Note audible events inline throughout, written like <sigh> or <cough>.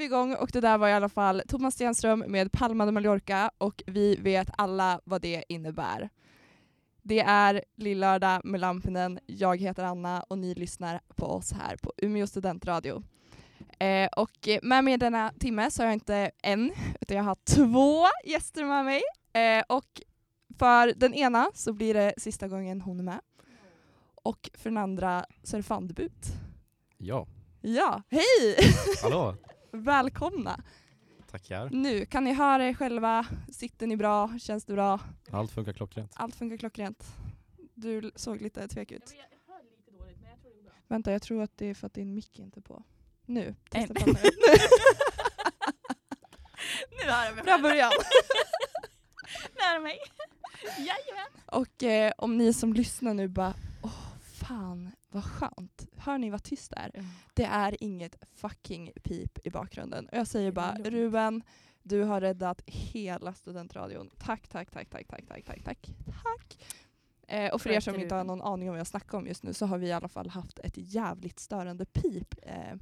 igång och det där var i alla fall Thomas Stenström med Palma de Mallorca och vi vet alla vad det innebär. Det är Lillördag med Lampinen, jag heter Anna och ni lyssnar på oss här på Umeå studentradio. Eh, och eh, med mig denna timme så har jag inte en, utan jag har två gäster med mig. Eh, och för den ena så blir det sista gången hon är med. Och för den andra så är det fan debut. Ja, Ja, hej! hallå. <laughs> Välkomna! Tackar. Nu, kan ni höra er själva? Sitter ni bra? Känns det bra? Allt funkar klockrent. Allt funkar klockrent. Du l- såg lite tvek ut. Vänta, jag tror att det är för att din mick inte är på. Nu, testa <laughs> prata nu. Nu hör jag mig Bra själv. början! Nära mig. Jajamän. Och eh, om ni som lyssnar nu bara åh fan vad skönt. Hör ni vad tyst det är? Det är inget fucking pip i bakgrunden. Och jag säger Det är bara lugnt. Ruben, du har räddat hela studentradion. Tack, tack, tack, tack, tack, tack, tack, tack. tack. Eh, och för er Skönt, som inte Ruben. har någon aning om vad jag snackar om just nu så har vi i alla fall haft ett jävligt störande pip eh,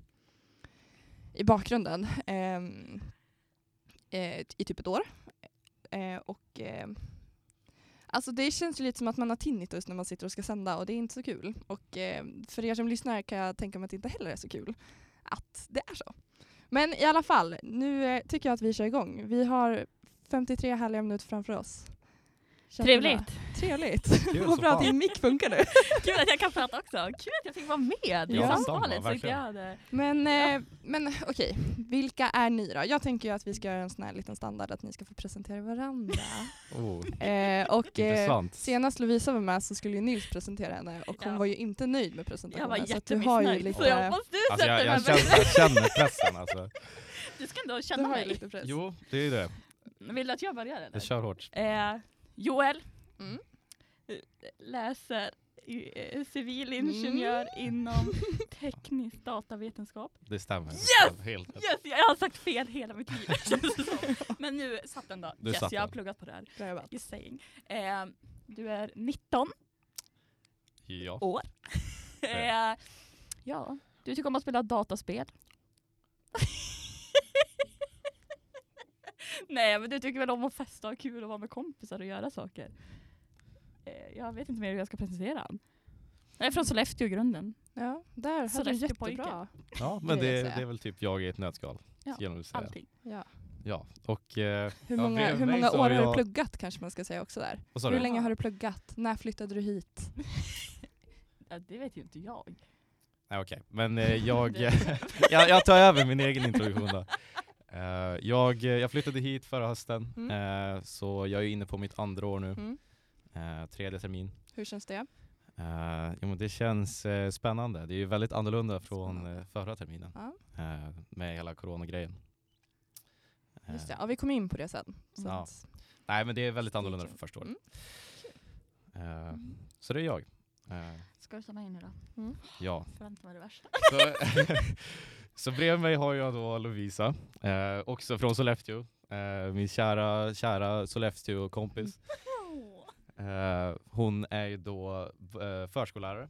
i bakgrunden ehm, eh, i typ ett år. Eh, och, eh, alltså det känns ju lite som att man har tinnitus när man sitter och ska sända och det är inte så kul. Och eh, för er som lyssnar kan jag tänka mig att det inte heller är så kul att det är så. Men i alla fall, nu eh, tycker jag att vi kör igång. Vi har 53 härliga minuter framför oss. Känns det bra? Trevligt. Trevligt. <laughs> Kul Vad som bra att fan. din mick funkar nu. Kul att jag kan prata också. Kul att jag fick vara med i Ja, detsamma, samtalet. Så inte verkligen. jag hade... Men, eh, men okej, vilka är ni då? Jag tänker ju att vi ska göra en sån här liten standard att ni ska få <laughs> presentera varandra. Oh, eh, och, eh, intressant. senast Lovisa var med så skulle ju Nils presentera henne och hon Ja. var ju inte nöjd med Jag presentationen. var så att alltså, du har ju jättemissnöjd. lite, Så jag hoppas du Alltså jag, sätter mig jag, känner, bäst. jag känner pressen alltså. <laughs> Du ska ändå du känna har ju mig. lite press. Jo, det är det. Vill du att jag börjar eller? Jag kör hårt. Eh, Joel Mm. läser eh, civilingenjör Mm. inom teknisk datavetenskap. Det stämmer. Yes! Helt rätt. Yes, jag har sagt fel hela mitt liv <laughs> känns det <laughs> som. Men nu satt den då. Du yes, satt jag har den. pluggat på det här. Bra jobbat. Just saying. Eh, du är 19 Ja. år. eh, ja, du tycker om att spela <laughs> dataspel. Nej, men du tycker väl om att festa och ha kul och vara med kompisar och göra saker. Eh, jag vet inte mer hur jag ska presentera han. Jag är från Sollefteå i grunden. Ja, där hade du Sollefteå-pojke. jättebra. ja, men Det är det, så, ja. det är väl typ jag i ett nötskal. Ja, skulle jag nog säga. Allting. <laughs> Ja. Ja, och... Eh, Hur Ja, många, bredvid hur mig många så år har har du jag- pluggat kanske man ska säga också där. vad sa Hur du? länge har du pluggat? När flyttade du hit? Ja, det vet ju inte jag. Nej okej, <laughs> men eh, <laughs> jag, <laughs> jag, jag tar över min egen introduktion då. Eh, jag, eh, jag flyttade hit förra hösten, eh, så jag är inne på mitt andra år nu, Mm. eh, tredje termin. Hur känns det? Eh, jo, men det känns eh, spännande. Det är ju väldigt annorlunda från Spännande. eh, förra terminen Ja. eh, med hela coronagrejen. Eh, Just det. Ja, vi kommer in på det sen. Så Ja. att, Nej men det är väldigt Stay annorlunda tuned. från första året. Mm. Eh, Så det är jag. Eh, Ska du stanna in nu då? <laughs> ja. Förvänta mig det <laughs> värsta. Så, <laughs> så bredvid mig har jag då Lovisa, eh, också från Sollefteå. Eh, min kära, kära Sollefteå-kompis. Eh, hon är ju då eh, förskollärare.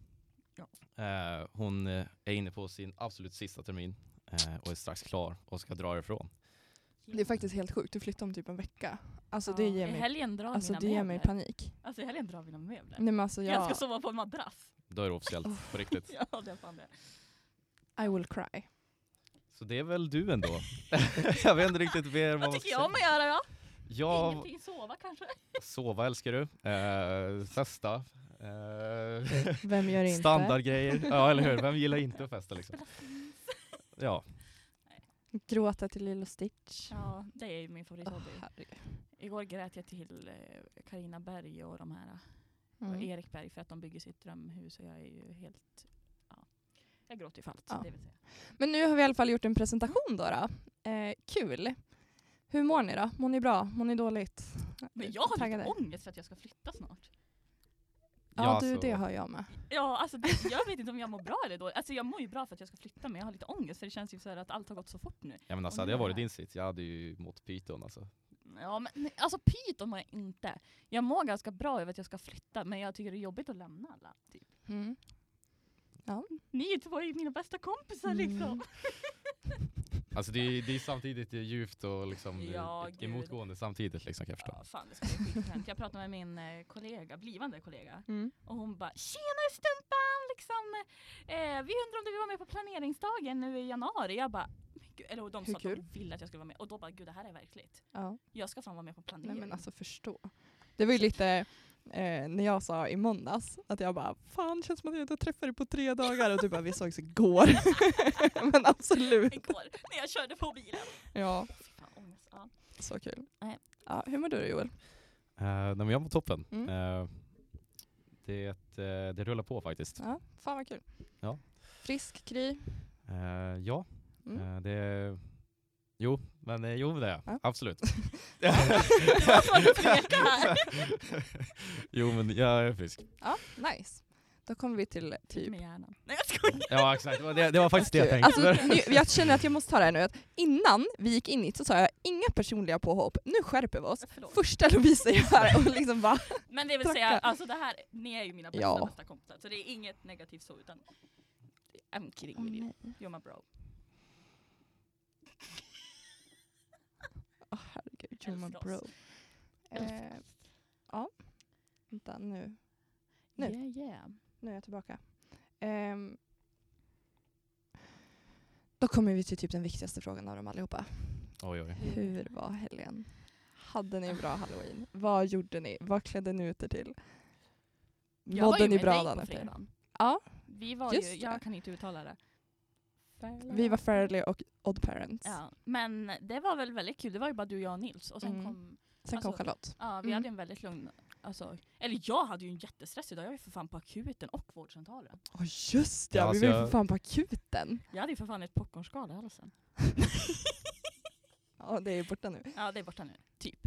Ja. Eh, hon eh, är inne på sin absolut sista termin eh, och är strax klar och ska dra ifrån. det är faktiskt helt sjukt. Du flyttade om typ en vecka. Alltså det Ja, ger I mig, helgen drar alltså, mina det ger mig möbler. panik. Alltså i helgen drar mina möbler. Nej, men alltså, Jag jag, ska sova på en madrass. <laughs> Då är det officiellt, Oh. på riktigt. Ja, det är fan det. I will cry. Så det är väl du ändå? <laughs> jag vet inte riktigt mer vad man Vad ska tycker säga. jag om att göra då? Ja, Ingenting, sova kanske? sova älskar du. Eh, festa. Eh, Vem gör inte? Standardgrejer. Ja, eller hur? Vem gillar inte att festa liksom? Ja, Gråta till Lilo Stitch. Ja, det är ju min Åh, favorithobby. herregud. Igår grät jag till eh, Carina Berg och de här, och Mm. Erik Berg för att de bygger sitt drömhus och jag är ju helt, ja. Jag gråter ju för allt. Ja. Det vill säga. Men nu har vi i alla fall gjort en presentation då. då. Eh, kul. Hur mår ni då? Mår ni bra? Mår ni dåligt? Men jag har Taggade? lite ångest för att jag ska flytta snart. Ja, Ja, du, alltså- det har jag med. Ja, alltså det, jag vet inte om jag mår bra eller dåligt. Alltså jag mår ju bra för att jag ska flytta men jag har lite ångest för det känns ju så här att allt har gått så fort nu. ja men alltså Och hade nu jag är varit det här. din sitt, jag hade ju mått pyton alltså. Ja men nej, alltså pyton mår jag inte. Jag mår ganska bra över att jag ska flytta men jag tycker det är jobbigt att lämna alla. Typ. Mm. Ni två är ju mina bästa kompisar Mm. liksom. Alltså det är, det är samtidigt det är djupt och liksom eh, Ja, ett- gud. emotgående samtidigt liksom kan jag förstå. Ja, fan det skulle bli skithänt. Jag pratade med min eh, kollega, blivande kollega. Mm. Och hon bara “Tjenare Stumpan!” liksom, eh, “Vi undrar om du vill vara med på planeringsdagen nu i januari?” Jag bara "Men gud," eller och de Hur sa att de kul? ville att jag skulle vara med och då bara “Gud det här är verkligt. Ja. Jag ska fan vara med på planering.” Nej men alltså förstå. Det var ju lite eh, när jag sa i måndags att jag bara fan känns som att jag inte har träffat dig på tre dagar och du bara vi sågs igår. <laughs> men absolut. Igår när jag körde på bilen. Ja, Fy fan ångest. Ja. så kul. Nej. Ja, hur mår du då, Joel? Eh, nej men jag var toppen. Mm. Eh, det, eh, det rullar på faktiskt. Ja, fan vad kul. Ja. Frisk, kry. Eh, ja, Mm. eh, det... Jo, men eh, jo det är jag. Ja. Absolut. <laughs> Varför tveka här? <laughs> jo men jag är frisk. Ja, nice. Då kommer vi till typ... Med hjärnan. Nej jag skojar! Ja exakt, det var, det, det var faktiskt det jag tänkte. Alltså, nu, jag känner att jag måste ta det här nu. Att innan vi gick in hit så sa jag inga personliga påhopp, nu skärper vi oss. Förlåt. Första Lovisa gör och liksom <laughs> bara Men det vill säga, Tackar. alltså det här, ni är ju mina bästa, Ja. bästa kompisar. Så det är inget negativt så utan I'm kidding with you. You're my bro. Åh herregud, <laughs> you're my Älska oss. bro. Eh, ja, vänta nu. Nu. Yeah, yeah. Nu är jag tillbaka. Ehm, då kommer vi till typ den viktigaste frågan av dem allihopa. Oj oj. Mm. Hur var helgen? Hade ni en Ah. bra halloween? Vad gjorde ni? Vad klädde ni ut er till? Jag var ju Mådde ni med bra dig dagen på efter? fredagen. Ja. Vi var Just ju, det. jag kan inte uttala det. Vi var Fairly och Odd Parents. Ja, men det var väl väldigt kul. Det var ju bara du, jag och Nils. Och sen Mm. kom, Sen kom Alltså, Charlotte. ja, vi Mm. hade en väldigt lugn, alltså, eller jag hade ju en jättestressig dag. Jag var ju för fan på akuten och vårdcentralen. Åh just det, Ja, vi alltså var ju jag- för fan <laughs> på akuten. Jag hade ju för fan ett popcornskal i halsen. <laughs> Ja det är ju borta nu. Ja, det är borta nu. Typ.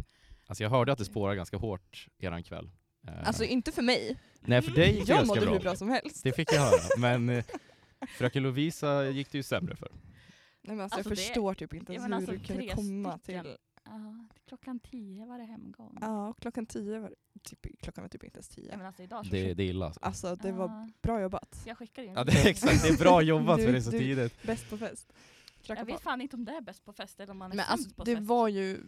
Alltså jag hörde att det spårade ganska hårt eran kväll. Eh, Alltså inte för mig. nej för dig gick det Jag ganska mådde bra. hur bra som helst. Det fick jag höra. Men eh, fröken Lovisa gick det ju sämre för. Nej, men alltså, Alltså, jag det- förstår typ inte ja, ens men hur alltså, du kunde tre komma stycken. till... Ja, klockan tio var det hemgång. Ja, klockan tio var typ, klockan var typ inte ens Ja, tio. men alltså idag så Det, det är illa alltså. Alltså det var Ja, bra jobbat. jag skickade ju en Ja det video. är exakt, det är bra jobbat Du- för det är så du- tidigt. Bäst på fest. Kracka Jag på. vet fan inte om det är bäst på fest eller om man är Men sämst alltså på det fest. var ju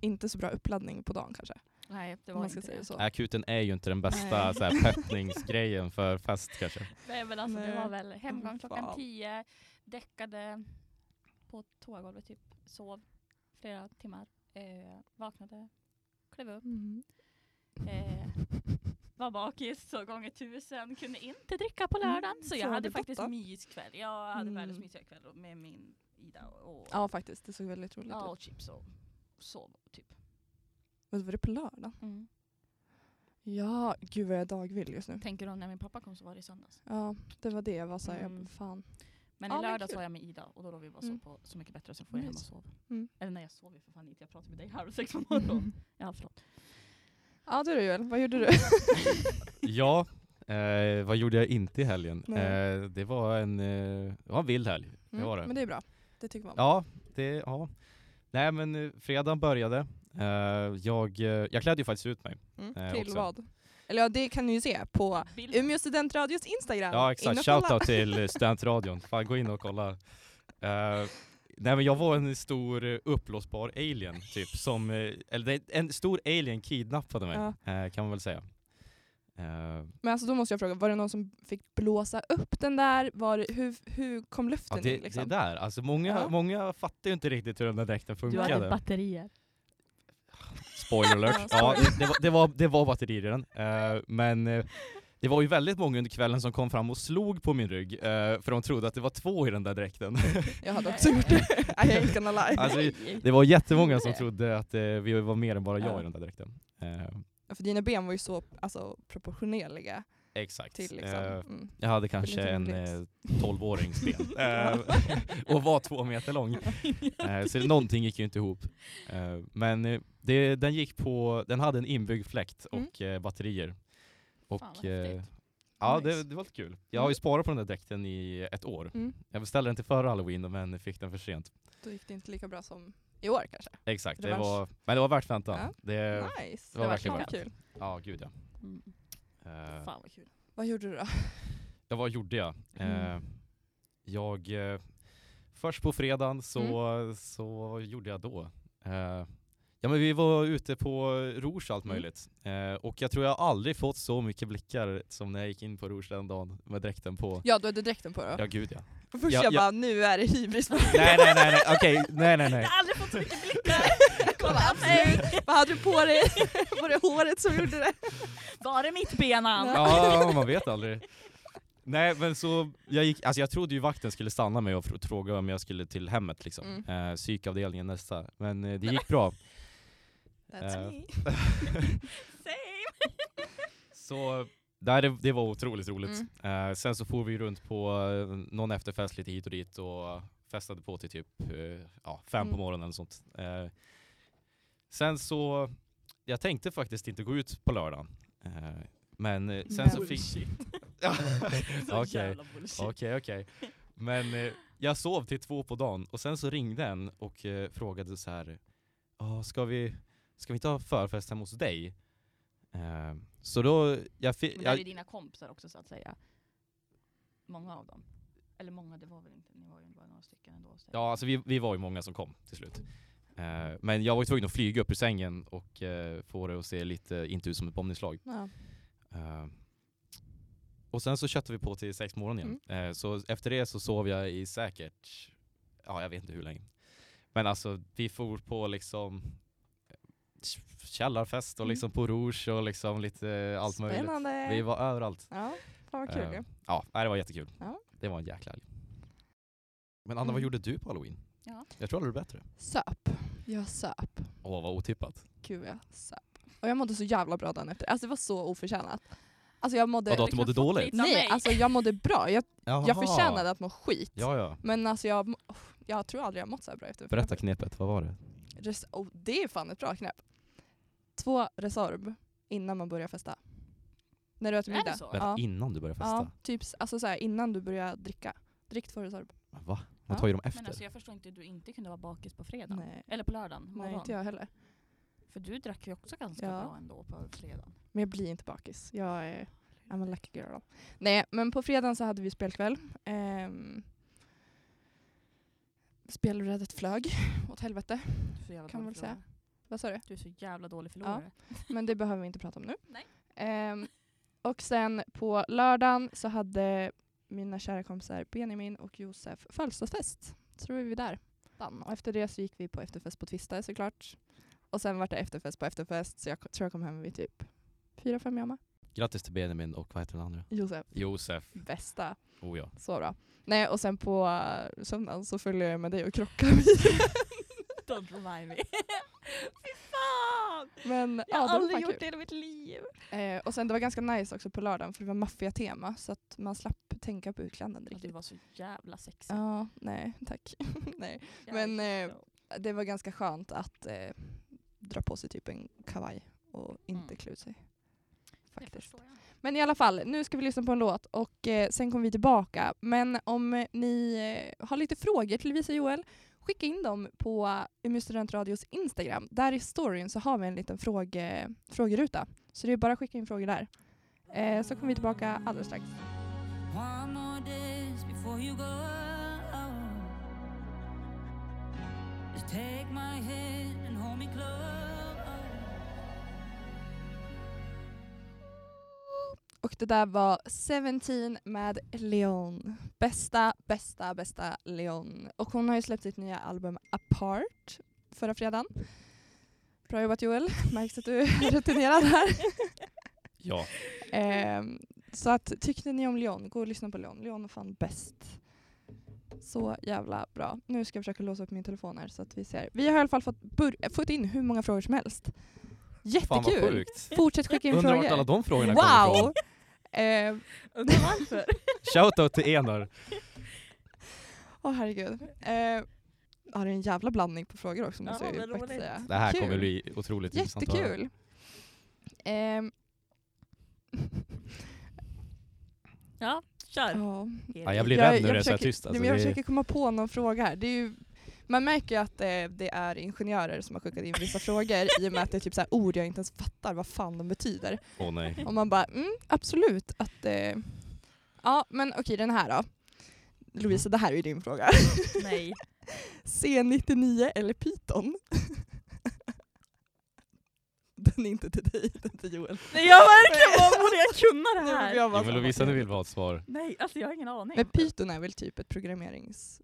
inte så bra uppladdning på dagen kanske. Nej, det Om var man ska inte säga det. så. Akuten är ju inte den bästa Nej. så här, peppningsgrejen för fest kanske. Nej men alltså Nej. det var väl hemgång klockan Fan. tio, däckade på toagolvet typ, sov flera timmar, eh, vaknade, klev upp, Mm. eh, var bakis, såg gånger tusen, kunde inte dricka Mm, på lördagen. Så jag så hade det faktiskt fattar. myskväll. Jag hade Mm. världens mysiga kväll och- med min Ida och, Ja typ. faktiskt, det såg väldigt roligt ja, ut. och chips och sov typ. Men var det på lördagen? Ja, gud vad jag är dagvill just nu. Tänker du när min pappa kom så var det i söndags. Ja, det var det jag var såhär, Mm. jag fan. Men Ja, i men lördags kul. var jag med Ida och då låg vi bara Mm. så på Så mycket bättre och sen får jag hem och Nice. sov. Mm. Eller när jag sover för fan inte, jag pratar med dig halv sex på morgonen. Ja förlåt. Ja du då Joel, vad gjorde du? Ja, eh, vad gjorde jag inte i helgen? Nej. Eh, det, var en, eh, det var en vild helg. Det var <laughs> det. Men det är bra, det tycker man om. Ja, det, ja. Nej men eh, fredagen började. Eh, jag, eh, jag klädde ju faktiskt ut mig. Mm. Eh, Till också. vad? Eller ja, det kan ni ju se på Bild. Umeå studentradios Instagram. Ja In och exakt, kolla. shoutout till eh, studentradion. Fan gå in och kolla. Eh, nej men jag var en stor eh, uppblåsbar alien typ som, eh, eller det- en stor alien kidnappade mig eh, kan man väl säga. Eh, Men alltså då måste jag fråga, var det någon som fick blåsa upp den där? Var det, hur, hur kom luften ja, det, in? Liksom? det där, alltså många, Ja. många fattar ju inte riktigt hur den där dräkten Du hade funkade. batterier. Spoiler alert. Ja, ja, det, det, var, det, var, det var batterier i den. Eh, men eh, det var ju väldigt många under kvällen som kom fram och slog på min rygg, eh, för de trodde att det var två i den där dräkten. Jag hade <laughs> också gjort det. <laughs> I ain't gonna lie. Alltså, Nej. Det var jättemånga som trodde att eh, vi var mer än bara jag i den där dräkten. Eh, Ja, För dina ben var ju så alltså, proportionerliga exakt. till liksom. Eh, Mm. jag hade kanske Lite en lyx. eh, <laughs> 12-årings ben eh, <laughs> och var två meter lång. Eh, så någonting gick ju inte ihop. Eh, men eh, det, den gick på, den hade en inbyggd fläkt Mm. och eh, batterier. Och, Fan, vad eh, häftigt. ja, Nice. det, det var lite kul. Jag har ju sparat på den där dräkten i ett år. Mm. Jag beställde den till förra halloween men fick den för sent. Då gick det inte lika bra som i år kanske. Exakt, det Revansch. var, men det var värt väntan. Ja. Eh, Det, nice. det var verkligen Fan, värt det. kul. ja, gud ja. Mm. Eh, Fan vad kul. Vad gjorde du då? Mm. Ja, vad gjorde jag? Eh, Mm. jag eh, först på fredagen så, så gjorde jag då. Eh, ja men vi var ute på Rouge allt Mm. möjligt. Eh, och jag tror jag aldrig fått så mycket blickar som när jag gick in på Rouge den dagen med dräkten på. Ja, du hade dräkten på då. Ja gud ja. Först ja, jag ja. bara, nu är det hybris. Nej nej nej, nej. okej, nej nej nej. Jag har aldrig fått så mycket blickar. Kolla, absolut. Vad hade du på dig? <laughs> Var det håret som gjorde det? Var det mitt benan? Nej. Ja, man vet aldrig. Nej men så, jag, gick, alltså jag trodde ju vakten skulle stanna mig och fr- fråga om jag skulle till hemmet liksom. Eh, psykavdelningen nästa. Men eh, det gick bra. That's Eh. me. <laughs> Same. Så nej, det, det var otroligt roligt. Eh, sen så for vi runt på eh, någon efterfest lite hit och dit och festade på till typ eh, ja, fem på Mm. morgonen eller sånt. Eh, sen så, jag tänkte faktiskt inte gå ut på lördagen. Eh, men eh, sen så fick... Bullshit. <laughs> <laughs> Så Okej. jävla bullshit. Okej, okej. Men eh, jag sov till två på dagen och sen så ringde en och eh, frågade så här, "Ja, ska, vi, ska vi inte ha förfest hemma hos dig? Eh, så då, jag fick... Men det är jag- ju dina kompisar också så att säga. Många av dem. Eller många, det var väl inte, ni var ju bara några stycken ändå. så- Ja, alltså vi, vi var ju många som kom till slut. Eh, men jag var ju tvungen att flyga upp ur sängen och eh, få det att se lite, inte ut som ett bombnedslag. Ja. Eh, och sen så köttade vi på till sex på morgonen igen. Mm. Eh, så efter det så sov jag i säkert, ja jag vet inte hur länge. Men alltså vi for på liksom eh, källarfest och Mm. liksom på Rouge och liksom lite allt möjligt. Spännande. Vi var överallt. Ja, fan vad kul Eh, ju. Ja, nej, det var jättekul. Ja. Det var en jäkla helg. Men Anna, vad Mm. gjorde du på halloween? Ja. Jag tror aldrig du bättre. Söp. Jag söp. Åh, vad otippat. Gud jag söp. Och jag mådde så jävla bra dagen efter. Alltså det var så oförtjänat. Alltså jag mådde... Vadå, att du mådde dåligt? liksom Nej, Nej, alltså jag mådde bra. Jag, jag förtjänade att må skit. Ja, ja. Men alltså jag, må- oh, jag tror aldrig jag mått så här bra efter. Berätta knepet, vad var det? Res- oh, det är fan ett bra knep. Två Resorb innan man börjar festa. När du Är äter det middag. så? Vänta, Ja. innan du började Ja, festa? typ s- alltså så här, innan du börjar dricka. Drick två Resorb. Va? Man Ja. tar ju dem Men efter. alltså jag förstår inte hur du inte kunde vara bakis på fredagen. Nej, Eller på lördagen nej morgon. inte jag heller. För du drack ju också ganska Ja. bra ändå på fredagen. Men jag blir inte bakis. Jag är I'm a lucky girl. Nej, men på fredagen så hade vi spelkväll. Ehm, spelbrädet flög <laughs> åt helvete. Du är så jävla Kan man dålig väl säga. förlorare. Vad sa du? Du är så jävla dålig förlorare. Men det behöver vi inte prata om nu. Nej. Ehm, och sen på lördagen så hade mina kära kompisar Benjamin och Josef födelsedagsfest. Så då var vi där. Dan. Och efter det så gick vi på efterfest på Twista såklart. Och sen var det efterfest på efterfest så jag k- tror jag kom hem vid typ fyra, fem jamma. Grattis till Benjamin och vad heter den andra? Josef, Josef. bästa. Oh ja. Så bra. Nej, och sen på eh, söndagen så följde jag med dig <laughs> och krockade. vid- Don't remind me. <laughs> Fy fan! Men Jag ja, har det var aldrig fan gjort kul. det i hela mitt liv. Eh, och sen det var ganska nice också på lördagen för det var maffiatema så att man slapp tänka på utklädnaden Ja, riktigt. du var så jävla sexig. Ja, nej tack. <laughs> nej. men, eh, Jävligt. Det var ganska skönt att eh, dra på sig typ en kavaj och inte Mm. klä ut sig. Det Faktiskt. förstår jag. Men i alla fall, nu ska vi lyssna på en låt och eh, sen kommer vi tillbaka. Men om eh, ni eh, har lite frågor till Lovisa och Joel, skicka in dem på eh, Umeå studentradios Instagram. Där i storyn så har vi en liten fråge, frågeruta. Så det är bara att skicka in frågor där. Eh, så kommer vi tillbaka alldeles strax. One more days before you go. Just take my hand and hold me close. Och det där var 17 med Leon. Bästa, bästa, bästa Leon. Och hon har ju släppt sitt nya album Apart förra fredagen. Bra jobbat Joel, <laughs> märks att du är rutinerad här. Ja. Ehm, så att tyckte ni om Leon, gå och lyssna på Leon. Leon är fan bäst. Så jävla bra. Nu ska jag försöka låsa upp min telefon här så att vi ser. Vi har i alla fall fått, bur- fått in hur många frågor som helst. Fan vad Jättekul! sjukt. Fortsätt skicka in Undrar vart alla frågor. de frågorna kommer Wow! ifrån. Ehm, Undrar varför? Shoutout till Enar. Åh herregud. Eh, ja, det är en jävla blandning på frågor också Ja, måste jag vad ju faktiskt roligt. säga. Det här Kul. kommer bli otroligt intressant att höra. Jättekul. Ehm, ja, kör. ja. Ja, jag blir Jag- rädd nu jag när det är så här försöker- tyst. Nej, Alltså, men jag det är, försöker komma på någon fråga här. Det är ju, man märker ju att eh, det är ingenjörer som har skickat in vissa frågor i och med att det är typ så här ord jag inte ens fattar vad fan de betyder. åh <laughs> nej. Och man bara, mm, absolut att... Eh, ja, men okej den här då. Lovisa, det här är ju din fråga. Nej. C99 eller Python? <laughs> Den är inte till dig, den är till Joel. Nej jag verkar <laughs> bara borde jag kunna det Nej, här? jag bara- Jo, men Lovisa, nu vill vi ha ett svar. Nej, alltså jag har ingen aning. Men Python är väl typ ett programmerings...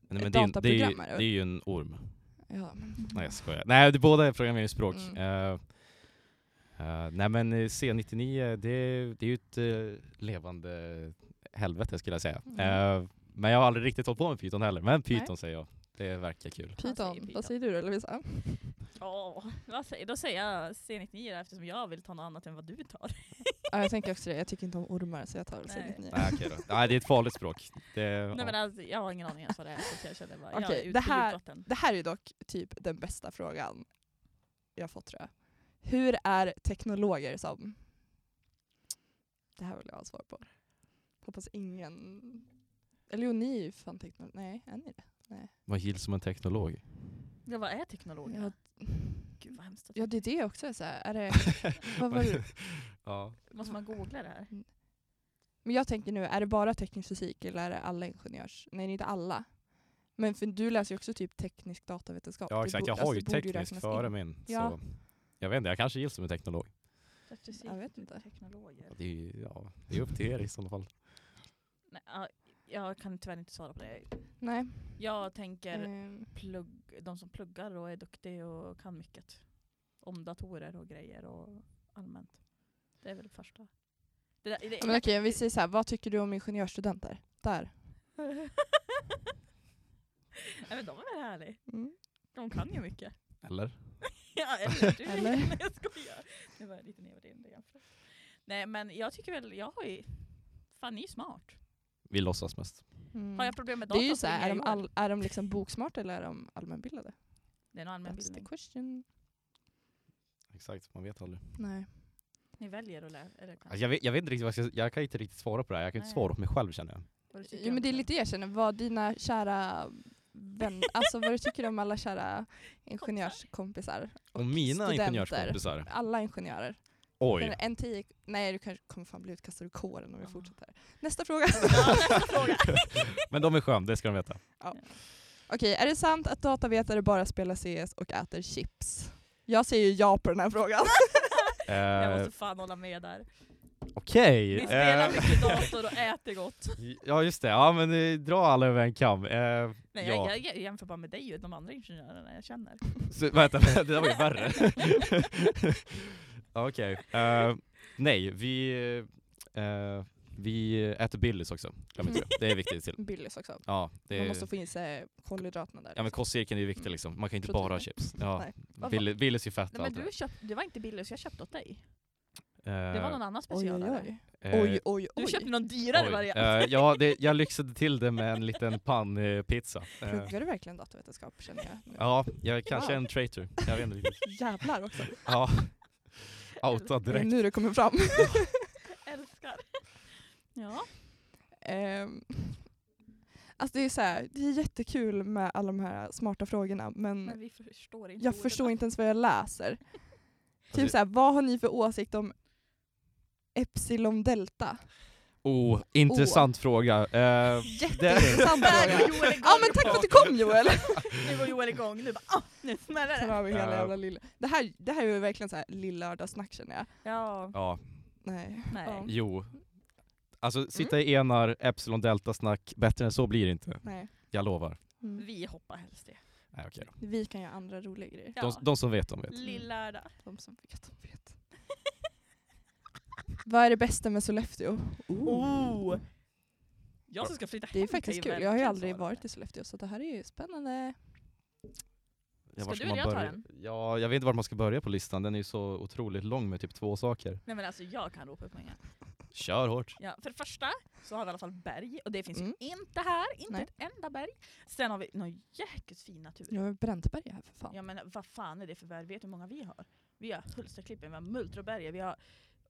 Nej, men Ett det, är ju- det, är ju, dataprogrammare. det är ju en orm. Ja, men... Nej jag skojar. Nej, det, båda är programmeringsspråk. Mm. Eh, eh, nej men eh, C99, det, det är ju ett eh, levande helvete skulle jag säga. Mm. Eh, men jag har aldrig riktigt hållit på med Python heller, men Python säger jag. Det verkar kul. Python. säger Python. vad säger du då Lovisa? Åh, vad säger, då säger jag C99 eftersom jag vill ta något annat än vad du tar. Ja, jag tänker också det, jag tycker inte om ormar så jag tar väl Nej. C99. Nej, Ah, okej då. Nej det är ett farligt språk. Det, Nej men ja. alltså, jag har ingen aning ens vad det är så jag känner bara, jag är Okej, ute det i här- djupvatten. Det här är dock typ den bästa frågan jag fått tror jag. Hur är teknologer som? Det här vill jag ha svar på. Hoppas ingen... Eller jo, ni är ju fan teknologer. Nej, är ni det? Vad gills som en <laughs> teknolog? Ja vad är teknologerna? Ja, Gud vad hemskt. att- ja det är det också. Så här. Är det, vad var det? ja. <laughs> Måste man googla det här? Mm. Men jag tänker nu, är det bara teknisk fysik eller är det alla ingenjörs... Nej, det är inte alla. Men för du läser ju också typ teknisk datavetenskap. ja Det exakt, bo- jag har alltså, ju det borde teknisk räknas före in. min. Ja. Så. Jag vet inte, jag kanske gills som en teknolog. Jag vet inte. Teknologer. Ja, det, är, ju- ja, det är upp till er i sådana fall. Nej, ja, jag kan tyvärr inte svara på det. Nej. Jag tänker ehm, plugg, de som pluggar och är duktiga och kan mycket. Om datorer och grejer och allmänt. Det är väl det första. Det där, det, Men <laughs> okej, vi säger så här, vad tycker du om ingenjörsstudenter? Där. Nej men de är väl härliga. Mm. De kan ju mycket. <laughs> Eller? Ja, eller du. Eller? Nej <laughs> jag skojar. Nu var jag lite nedvärderande jämfört. Nej men jag tycker väl, jag har ju, fan ni är smart. Vi låtsas mest. Mm. Har jag problem med Det data är ju så så ringer här, är jag de, Joel. all, är de liksom boksmarta eller är de allmänbildade? Det är en allmän That's the bildning. question. Exakt, man vet aldrig. Nej. Ni väljer att läsa. Eller kan. Alltså, jag, vet, jag vet inte riktigt vad jag ska, jag kan inte riktigt svara på det här. Jag kan inte Nej. svara på mig själv känner jag. Vad du tycker Jo om men det är den. lite det jag känner, vad dina kära <laughs> vänner, alltså vad du tycker om alla kära ingenjörskompisar? Och mina studenter. ingenjörskompisar. Alla ingenjörer. <laughs> Oj. Känner En tio, nej du kanske kommer fan bli utkastad ur kåren om jag fortsätter. Nästa fråga. <laughs> Ja, nästa fråga. <laughs> Men de är skön, det ska de veta. Okej, är det sant att datavetare bara spelar CS och äter chips? Jag säger ju ja på den <laughs> här frågan. Jag Eh, måste fan hålla med där. Okej. Ni spelar <laughs> eh, mycket dator och äter gott. <laughs> ja just det, ja men eh, dra alla över en kam. Eh, Nej, ja. jag, jag jämför bara med dig och de andra ingenjörerna jag känner. Så, vänta, <laughs> det där var ju värre. <laughs> Okej. eh, nej, vi, eh, vi äter Billys också. Glöm inte det. Det är viktigt till. Billys också. Ja, det Man är, måste få in sig kolhydraterna där. ja men kostcirkeln är ju viktig liksom. Man kan ju inte bara ha chips. Ja, Nej. Varför? Bill- Billys är ju fett Nej, och men allt du köpt, det var inte billigt så jag köpte åt dig. Det var Eh, någon annan Oj oj specialare. oj. eh, Oj oj Du oj. köpte någon dyrare Oj, variant. eh, ja, <laughs> det, jag lyxade till det med en liten pannpizza. Eh, Pluggar du verkligen datavetenskap känner jag nu? ja, jag är kanske Wow. en traitor. Jag vet inte riktigt. Jävlar också. Ja. Outad Det är direkt. nu det kommer fram. <laughs> Älskar. Ja. Ehm, alltså det är så här, det är jättekul med alla de här smarta frågorna men Men vi Mm. förstår inte jag orden. förstår inte ens vad jag läser. Typ Alltså, så här, vad har ni för åsikt om Epsilon delta? oh, intressant fråga. Eh, <laughs> Jätteintressant Där fråga. går Joel igång. Ja men tack för att du kom <laughs> Joel! Nu går Joel igång. Nu bara ah, nu smäller Sen det. har vi hela Ja. jävla lilla. Det, här, det här är ju verkligen så här lill-lördagssnack känner jag. Ja. ja, Nej. Nej. Ja. jo. Alltså sitta i enar, epsilon delta snack, bättre än så blir det inte. Nej. Jag lovar. Mm. Vi hoppar helst det. Nej, okej då. Vi kan göra andra roliga grejer. Ja. De, de som vet, de vet. Lillördag. De som vet, de vet. Vad är det bästa med Sollefteå? Oh. Jag som ska flytta Det är hem faktiskt till kul. Jag har ju verkligen aldrig svårare. varit i Sollefteå så det här är ju spännande. Ja, Ska var du eller jag ta börja? den? Ja, jag vet inte var man ska börja på listan. Den är ju så otroligt lång med typ två saker. Nej men alltså jag kan ropa upp många. Kör hårt. Ja, för det första så har vi i alla fall berg och det finns Mm. ju inte här, inte Nej. ett enda berg. Sen har vi någon jäkligt fin natur. Jag har Bräntberg här för fan. Ja men vad fan är det för berg? Vet du hur många vi har? Vi har Hultsfredsklippen, vi har Multroberget, vi har...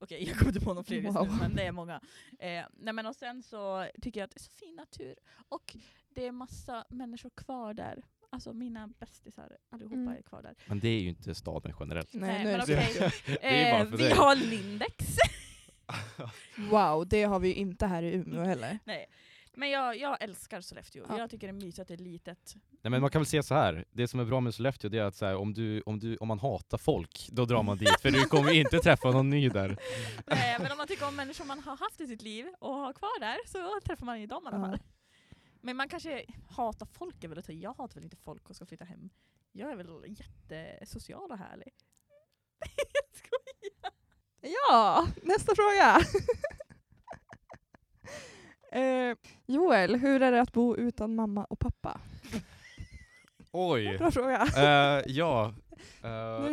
Okej jag kommer inte på någon fler just Wow. nu men det är många. Eh, nej men och sen så tycker jag att det är så fin natur och det är massa människor kvar där. Alltså mina bästisar allihopa Mm. är kvar där. Men det är ju inte staden generellt. Nej, Nej, nu är men det okej. Sollefteå. är ju bara Eh, för vi dig. har Lindex. <laughs> Wow, det har vi ju inte här i Umeå heller. Nej. Men jag, jag älskar Sollefteå. Ja. Jag tycker det är mysigt att det är litet. <laughs> Nej men man kan väl säga så här. det som är bra med Sollefteå det är att så här, om, du, om, du, om man hatar folk, då drar man dit för du kommer inte träffa någon ny där. <laughs> Nej, men om man tycker om människor man har haft i sitt liv och har kvar där så träffar man ju dem i alla Ja. fall. Men man kanske hatar folk är väl att ta i. Jag hatar väl inte folk och ska flytta hem. Jag är väl jättesocial och härlig. <laughs> jag skojar! Ja, nästa fråga. <laughs> eh, Joel, hur är det att bo utan mamma och pappa? Oj! Bra fråga. Eh, ja. Eh,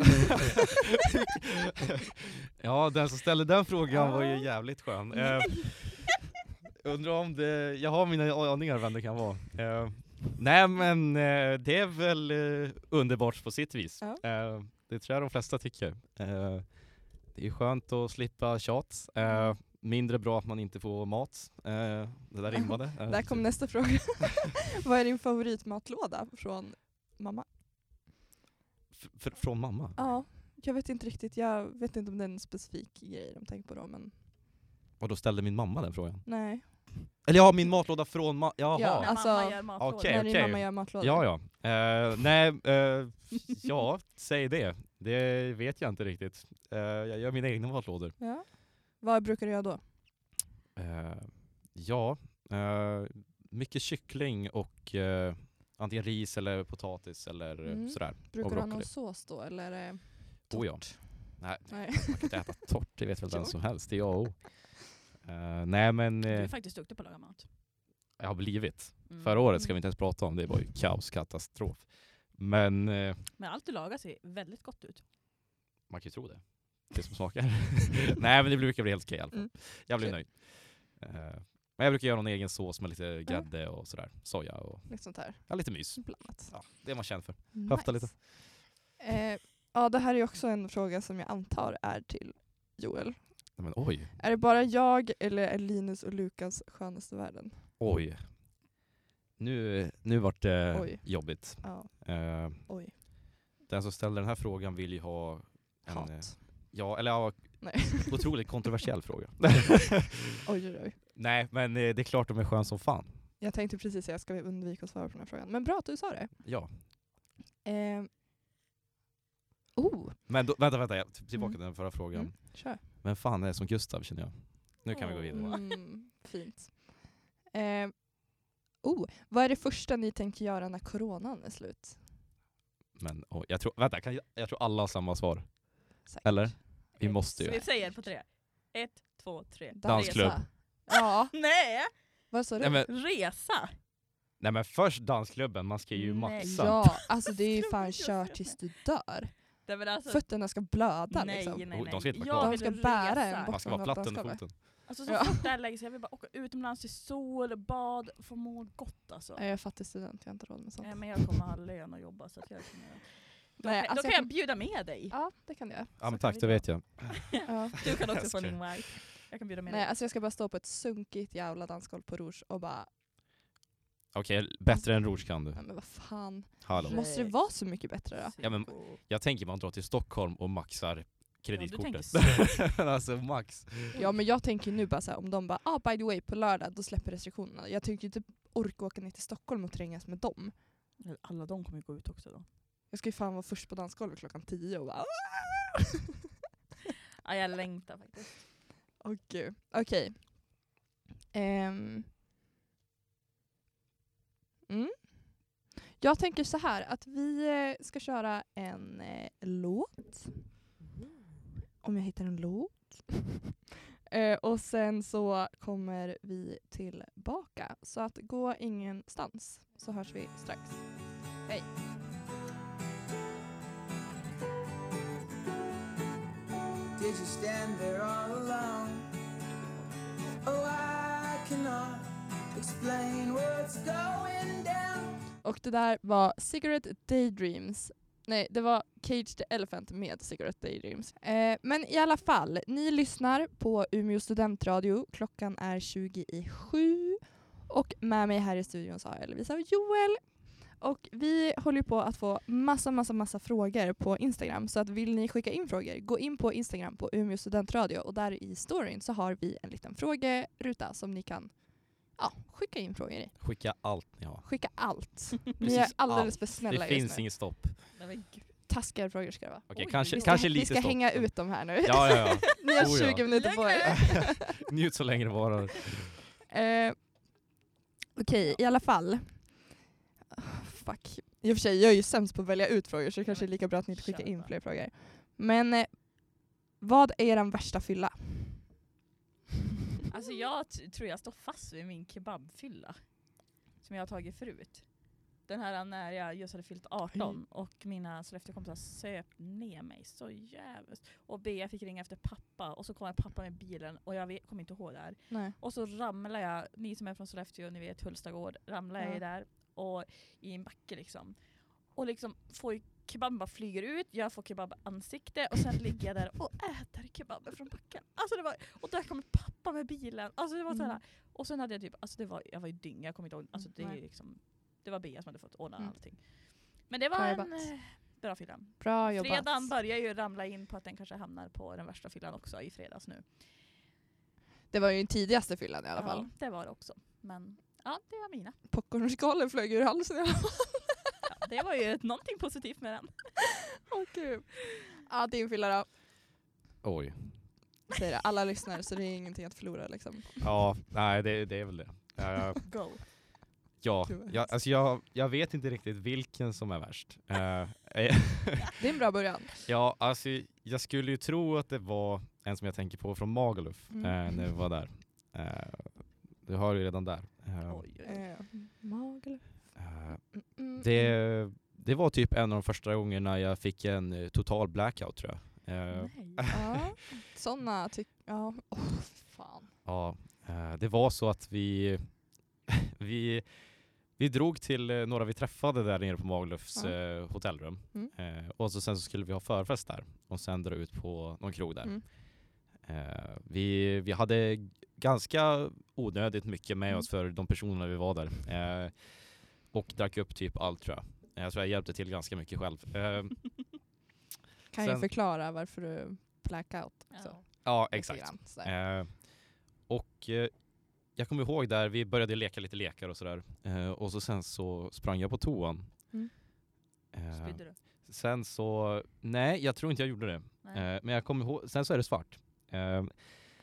<laughs> ja, den som ställde den frågan var ju <laughs> jävligt skön. Eh, undrar om det, jag har mina aningar vem det kan vara. Eh, nej men eh, det är väl eh, underbart på sitt vis. Ja. Eh, det tror jag de flesta tycker. Eh, det är skönt att slippa tjat. Mm. Eh, mindre bra att man inte får mat. Eh, det där rimmade. <laughs> Eh, Där kom nästa fråga. <laughs> Vad är din favoritmatlåda från mamma? f- f- från mamma. Ja, jag vet inte riktigt. Jag vet inte om det är en specifik grej de tänker på då, men Och då ställde min mamma den frågan. nej. Eller ja, min matlåda från mamma. Jaha. Ja, När alltså- mamma gör matlådor. Okej, När din okej. mamma gör matlådor. Ja, ja. Eh, nej, eh, ja, säg det. Det vet jag inte riktigt. Eh, jag gör mina egna matlådor. Ja. Vad brukar du göra då? Eh, ja, eh, mycket kyckling och eh, antingen ris eller potatis eller eh, Mm. sådär. Brukar du ha någon broccoli. sås då eller? är det- Oh, ja. Torrt. Nej, Nej. man kan inte äta torrt. Det vet väl den Jo. som helst. Det är A och O. Eh, nej, men Du är eh, faktiskt duktig på att laga mat. jag har blivit. Mm. Förra året ska vi inte ens prata om. Det var ju kaos, katastrof. Men eh, Men allt du lagar ser väldigt gott ut. Man kan ju tro det. Det som smakar. <laughs> Nej men det brukar bli helt okej i alla fall. Mm. Jag blir Kul. nöjd. Eh, men jag brukar göra någon egen sås med lite grädde och sådär. Soja och <laughs> Lite sånt här ja, lite mys. blandat. Ja, det är man känd för. Nice. Höfta lite. Eh, ja, det här är också en fråga som jag antar är till Joel. Nej, men oj, Är det bara jag eller är Linus och Lukas skönast i världen? oj. Nu, nu vart det Oj. jobbigt. Ja, Eh, oj. den som ställde den här frågan vill ju ha en, Hat. eh, ja, eller ja, Nej. <laughs> otroligt kontroversiell <laughs> fråga. Oj, oj, oj. Nej men eh, det är klart de är skön som fan. Jag tänkte precis säga, ska vi undvika att svara på den här frågan? Men bra att du sa det. Ja. Eh. Oh, Men då, vänta, vänta, jag- tillbaka Mm. till den förra frågan. Mm. kör. Vem fan är det som Gustav känner jag? Nu kan vi gå Åh. vidare. Mm, fint. Eh. Oh, vad är det första ni tänker göra när coronan är slut? Men oj, jag tror, vänta, kan jag, jag tror alla har samma svar. Säkert. Eller? Vi måste Så ju. vi säger på tre. Ett, två, tre. Dansklubb. Resa. Ja, <laughs> Nej! vad sa Nej du? men, Resa! nej men först dansklubben, man ska Nej. ju maxa. Ja, alltså det är ju Dansklubb, fan just kört det. tills du dör. Nej, men alltså, Fötterna ska blöda nej, liksom. nej, Oh, nej. de ska inte vara Jag kvar. De vill ska bära resa. en bort. Man ska vara platt under Dansklubben. foten. Alltså så Ja. fort det här lägger sig, jag vill bara åka utomlands till sol, bad, få må gott alltså. Nej, Jag är fattig student, jag har inte råd med sånt. Nej, men jag kommer ha lön och jobba så att jag kan göra- Ehm, då, Nej, kan, alltså då jag kan jag kan- bjuda med dig. Ja, det kan jag. Ja Så men kan tack, vi det gå. vet jag. Ja. Du kan också få <laughs> Jag en invite. Jag kan bjuda med Nej, dig. alltså jag ska bara stå på ett sunkigt jävla dansgolv på Rouge och bara, Okej, bättre än Rouge kan du. nej men vad fan. Hallå. Måste det vara så mycket bättre då? Ja, men- Jag tänker man drar till Stockholm och maxar Ja, kreditkortet. du tänker <laughs> alltså max. Ja men jag tänker nu bara så här, om de bara, ah by the way på lördag då släpper restriktionerna. Jag tänker ju inte orka åka ner till Stockholm och trängas med dem. Alla de kommer ju gå ut också då. Jag ska ju fan vara först på dansgolvet klockan tio och bara, <laughs> Ja, jag längtar faktiskt. åh gud. Okej. Ehm. Mm. Jag tänker så här att vi eh, ska köra en eh, låt. Om jag hittar en låt. <laughs> eh, och sen så kommer vi tillbaka. Så att gå ingenstans så hörs vi strax. Hej. Did you stand there all alone? Oh, I cannot explain what's going down. Och det där var Cigarette Daydreams. Nej, det var Cage the Elephant med Cigarette Daydreams. Eh, men i alla fall, ni lyssnar på Umeå studentradio. Klockan är 20 i sju. Och med mig här i studion så har jag Lovisa och Joel. Och vi håller ju på att få massa, massa, massa frågor på Instagram. Så att vill ni skicka in frågor, gå in på Instagram på Umeå studentradio och där i storyn så har vi en liten frågeruta som ni kan Ja, skicka in frågor i. Skicka allt ni har. Skicka allt. Vi är Precis alldeles allt. för snälla det just finns nu. inget stopp. Nej, men gud. Taskiga frågor ska det vara. Okej, Oj, vi kanske, ska- Vi ska, kanske vi lite ska stopp. hänga ut dem här nu. <laughs> Ja, ja, ja. <laughs> Ni har Oh, ja. 20 minuter på er. Njut så länge det varar. <laughs> Eh, Okej, i alla fall. Ah, fuck. I och för sig, jag är ju sämst på att välja ut frågor så det kanske är lika bra att ni inte skickar in Kör. fler frågor. Men eh, vad är den <laughs> värsta fylla? Alltså jag t- tror jag står fast vid min kebabfylla. Som jag har tagit förut. Den här när jag just hade fyllt 18 och mina Sollefteåkompisar söp ner mig så jävligt. Och Bea fick ringa efter pappa och så kom pappa med bilen och jag vet- kommer inte ihåg det här. Nej. Och så ramlar jag, ni som är från Sollefteå, ni vet Hulstagård, ramlar jag Ja. i där och i en backe liksom. Och liksom får ju kebaben bara flyger ut, jag får kebabansikte och sen ligger jag där och äter kebaben från backen. Alltså det var, och där kommer pappa med bilen. Alltså det var så här. Mm. Och sen hade jag typ, alltså det var, jag var ju dynga, jag kommer inte ihåg. Alltså det, är Nej. ju liksom, det var Bea som hade fått ordna Mm. allting. Men det var Bra en jobbat. eh, bra fylla. Bra jobbat. Fredagen börjar ju ramla in på att den kanske hamnar på den värsta fyllan också i fredags nu. Det var ju den tidigaste fyllan i alla fall. Ja, det var det också. Men ja, det var <laughs> mina. Popcornskalen flög ur halsen. i alla fall. Ja, det <laughs> var ju ett- någonting positivt med den. Åh gud. Ja, din fylla då. Oj. Säger det. Alla lyssnar så det är ingenting att förlora liksom. Ja, nej det, det är väl det. Eh, Go. ja, Gud, vad jag, hemskt. alltså jag, jag vet inte riktigt vilken som är värst. Eh, eh, Det är en bra början. ja, alltså jag skulle ju tro att det var en som jag tänker på från Magaluf Mm. eh, när vi var där. Eh, du hör ju redan där. Eh, Oj, oj, oj. Eh, Magel. eh, Mm, mm, mm. Det, det var typ en av de första gångerna jag fick en eh, total blackout tror jag. Eh, Nej. Ja, sådana tycker... Ja. Åh, fy fan. Ja, eh, det var så att vi, <laughs> vi, vi drog till eh, några vi träffade där nere på Maglufs Ja. eh, hotellrum. Mm. Eh, och så sen så skulle vi ha förfest där och sen dra ut på någon krog där. Mm. Eh, vi, vi hade g- ganska onödigt mycket med Mm. oss för de personerna vi var där. Eh, och drack upp typ allt tror jag. Eh, Jag tror jag hjälpte till ganska mycket själv. Eh, Kan Sen- ju förklara varför du blackout. Ja. Så, <laughs> ja, lite exakt. grann, sådär. Eh, och eh, jag kommer ihåg där, vi började leka lite lekar och sådär. Eh, och så sen så sprang jag på toan. Mm. Eh, Spydde du? sen så, nej jag tror inte jag gjorde det. Nej. Eh, men jag kommer ihåg, sen så är det svart. Eh,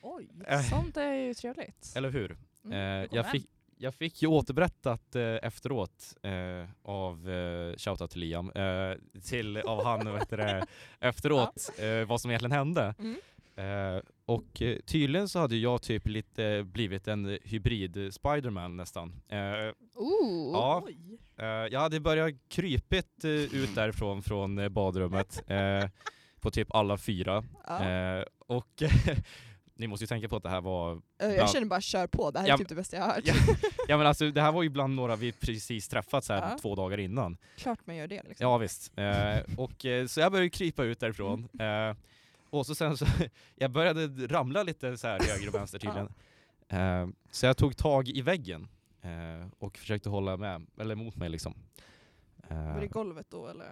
Oj. eh, Sånt är ju trevligt. eller hur? Mm, Eh, kommer jag, hem. fick, jag fick ju återberättat eh, efteråt eh, av, eh, shoutout till Liam, eh, till, av han vad <laughs> heter det, efteråt eh, vad som egentligen hände. Mm. Eh, och eh, tydligen så hade jag typ lite blivit en hybrid Spiderman nästan. Eh, Ooh. ja, Oj. eh, jag hade börjat krypit eh, ut därifrån från eh, badrummet eh, på typ alla fyra. Ja. Eh, och <laughs> ni måste ju tänka på att det här var Eh, ja. Jag känner bara kör på, det här är Ja, typ det bästa jag har hört. ja. Ja men alltså det här var ju bland några vi precis träffats här Ja. två dagar innan. Klart man gör det liksom. Ja visst. Eh, och, eh, så jag började krypa ut därifrån. Eh, och så sen så, <laughs> jag började ramla lite så här höger och vänster tydligen. Eh, så jag tog tag i väggen eh, och försökte hålla med, eller mot mig liksom. Var det Eh, golvet då eller?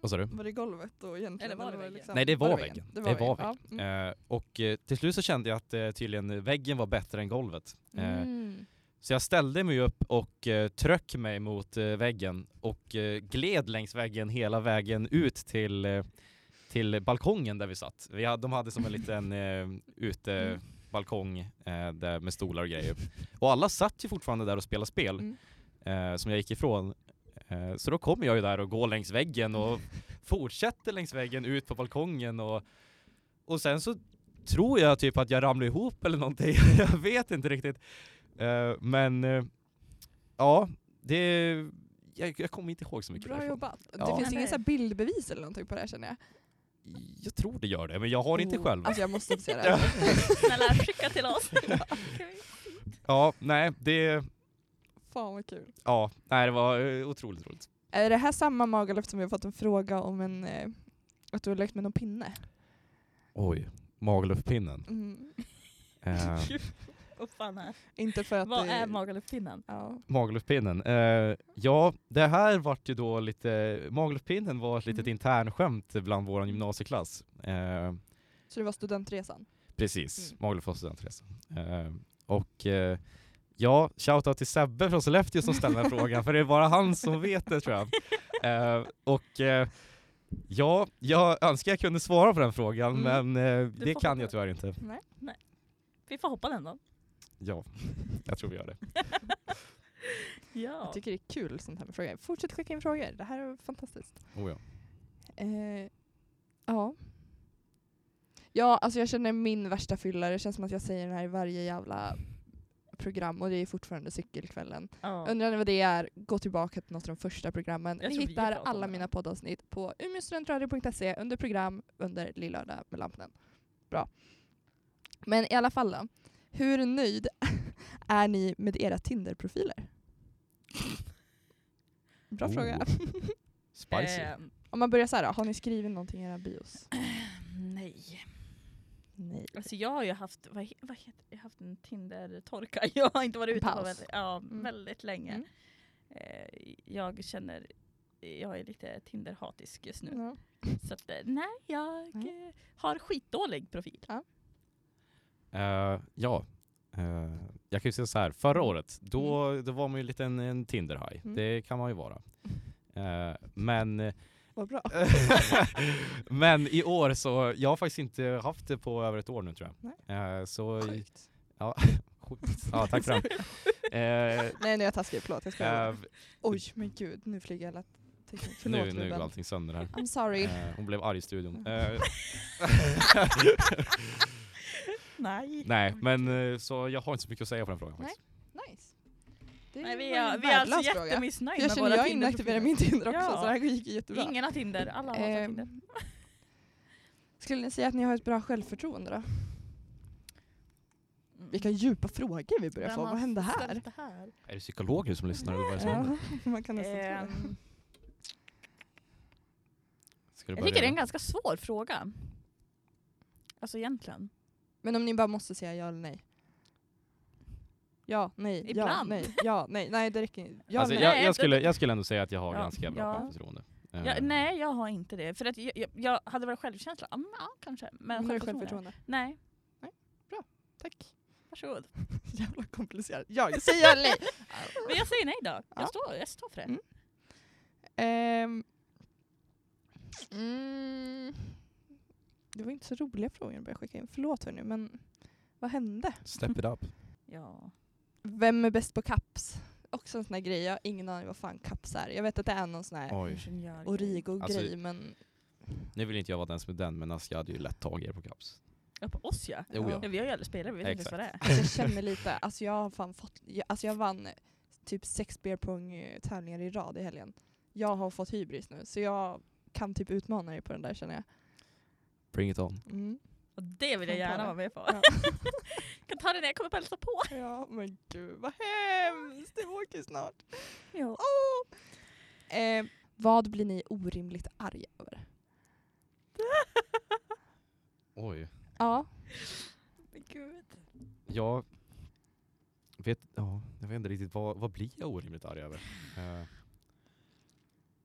vad sa du? Var det golvet då egentligen? Eller var det väggen? Nej det var liksom- väggen. väggen. Det var väggen. Ja. Mm. Eh, och eh, till slut så kände jag att eh, tydligen väggen var bättre än golvet. Eh, Mm. Så jag ställde mig upp och eh, tryck mig mot eh, väggen och eh, gled längs väggen hela vägen ut till, eh, till balkongen där vi satt. Vi hade, de hade som en liten eh, Mm. utebalkong eh, där med stolar och grejer. Och alla satt ju fortfarande där och spelade spel Mm. eh, som jag gick ifrån. Eh, så då kommer jag ju där och går längs väggen <laughs> och fortsätter längs väggen ut på balkongen och, och sen så tror jag typ att jag ramlar ihop eller någonting. <laughs> jag vet inte riktigt. Eh, men eh, ja, det... Jag, jag kommer inte ihåg så mycket Bra därifrån. jobbat. Ja. Det finns Nej. ingen så här bildbevis eller någonting på det här känner jag. Jag tror det gör det, men jag har inte Oh, själv. Alltså jag måste inte se det <laughs> här. Snälla skicka till oss. Okej. Ja, nej, det... Fan vad kul. Ja, nej, det var eh, otroligt roligt. Är det här samma Magaluf som vi har fått en fråga om en, eh, att du har lekt med någon pinne? Oj, Magalufpinnen. Mm. <laughs> Eh, Vad fan är- Inte för att Vad det, är Magalufpinnen? Ja. Magalufpinnen. Eh, ja, det här vart ju då lite... Magalufpinnen var ett litet Mm. internskämt bland vår gymnasieklass. Eh, Så det var studentresan? Precis, Mm. Magaluf var studentresa. Eh, och eh, Ja, shoutout till Sebbe från Sollefteå som ställer <laughs> den här frågan, för det är bara han som vet det tror jag. Eh, och eh, ja, jag önskar jag kunde svara på den frågan, Mm. men eh, det får kan det. jag tyvärr inte. Vi får hoppa den då. Ja, <laughs> jag tror vi gör det. Ja. Jag tycker det är kul sånt här med frågor. Fortsätt skicka in frågor, det här är fantastiskt. Oh, ja. Eh, ja. Ja, alltså jag känner min värsta fylla, det känns som att jag säger den här i varje jävla program och det är fortfarande cykelkvällen. Ja. Undrar ni vad det är, gå tillbaka till något av de första programmen. Jag Ni tror vi hittar pratar om alla det. mina poddavsnitt på umeåstudentradio.se under program under Lillördag med Lampen. Bra. Men i alla fall då. Hur nöjd <laughs> är ni med era Tinder-profiler? Bra Oh. fråga. <laughs> Spicy. Eh, Om man börjar så här då, har ni skrivit någonting i era bios? nej. Nej. Alltså jag har ju haft, vad, he- vad heter, jag har haft en Tinder-torka. <laughs> Jag har inte varit En ute på paus. väldigt, ja, Mm. väldigt länge. Mm. Eh, jag känner, jag är lite Tinder-hatisk just nu. Ja. Så att, eh, nej, jag Mm. Nej. eh, har skitdålig <laughs> profil. Eh, ja, Eh, jag kan ju säga så här. Förra Mm. året, då, då var man ju lite en, en Tinder-haj. Mm. Det kan man ju vara. Mm. Eh, men <laughs> <laughs> Vad bra. Men i år så, jag har faktiskt inte haft det på över ett år nu tror jag. Eh, så, Sjukt. ja, sjukt. Ja, tack för <laughs> det. Eh, Nej nu är jag taskig, förlåt. Jag skojar. eh, Oj men gud, nu flyger alla teknik. Förlåt nu, nu går Ruben. allting sönder här. I'm sorry. Eh, hon blev arg i studion. Mm. <laughs> Eh, Nej. nej, men eh, så jag har inte så mycket att säga på den frågan Nej. faktiskt. Nice. Det nej vi var en är, vi är alltså värdelös fråga. jättemissnöjda Jag med känner våra jag inaktiverade Tinder-profiler. min Tinder också Ja. så det här gick jättebra. Ingen har Tinder, alla har alltså Ehm, Tinder. Skulle ni säga att ni har ett bra självförtroende då? Mm. Vilka djupa frågor vi börjar Vem få, har vad hände här? ställt det Mm. här? Är det psykologer som lyssnar eller vad är det som händer? Ja, <laughs> man kan nästan tro det. Ehm, Ska du jag börja tycker det är en redan? ganska svår fråga. Alltså egentligen. Men om ni bara måste säga ja eller nej? Ja, nej, ja, Ibland. nej, ja, nej, nej det räcker inte. Ja, alltså, nej. jag, Nej, jag, skulle, jag skulle ändå säga att jag har Ja, ganska bra ja. självförtroende. Eh, Jag, nej, jag har inte det. För att jag, jag, jag hade väl självkänsla, ja, men, ja kanske. Men Men självförtroende? självförtroende. Nej, Tack. <laughs> varsågod. Jävla komplicerat. Ja, jag säger ja eller nej. <laughs> Men jag säger nej då. Jag, Ja. står, jag står för det. Mm. Ehm. Mm. Det var inte så roliga frågor jag började skicka in. Förlåt hörni, men vad hände? Step it up. Ja. Vem är bäst på kaps? Också en sån här grej, jag har ingen aning vad fan kaps är. Jag vet att det är någon sån här Oj. ingenjör- origo-grej Alltså- <laughs> men... Nu vill inte jag vara den som är den, men alltså, jag hade ju lätt tagit er på kaps. Ja, på oss ja. Jo, Ja. ja. ja vi har ju aldrig spelat, vi vet inte ens Exakt. vad det är. Alltså jag känner lite, alltså jag har fan fått, jag, alltså jag vann typ sex beerpong-tävlingar i rad i helgen. Jag har fått hybris nu så jag kan typ utmana dig på den där känner jag. Bring it on. Mm. Och det vill jag Fan, ta gärna det. vara med på. Ja. kan ta det när jag kommer på hälsa på. <laughs> Ja men gud vad hemskt, det åker snart. Ja. Åh! Eh, vad blir ni orimligt arg över? Oj. Ja, Men Gud. Jag vet, ja, jag vet inte riktigt, vad, vad blir jag orimligt arg över? Eh,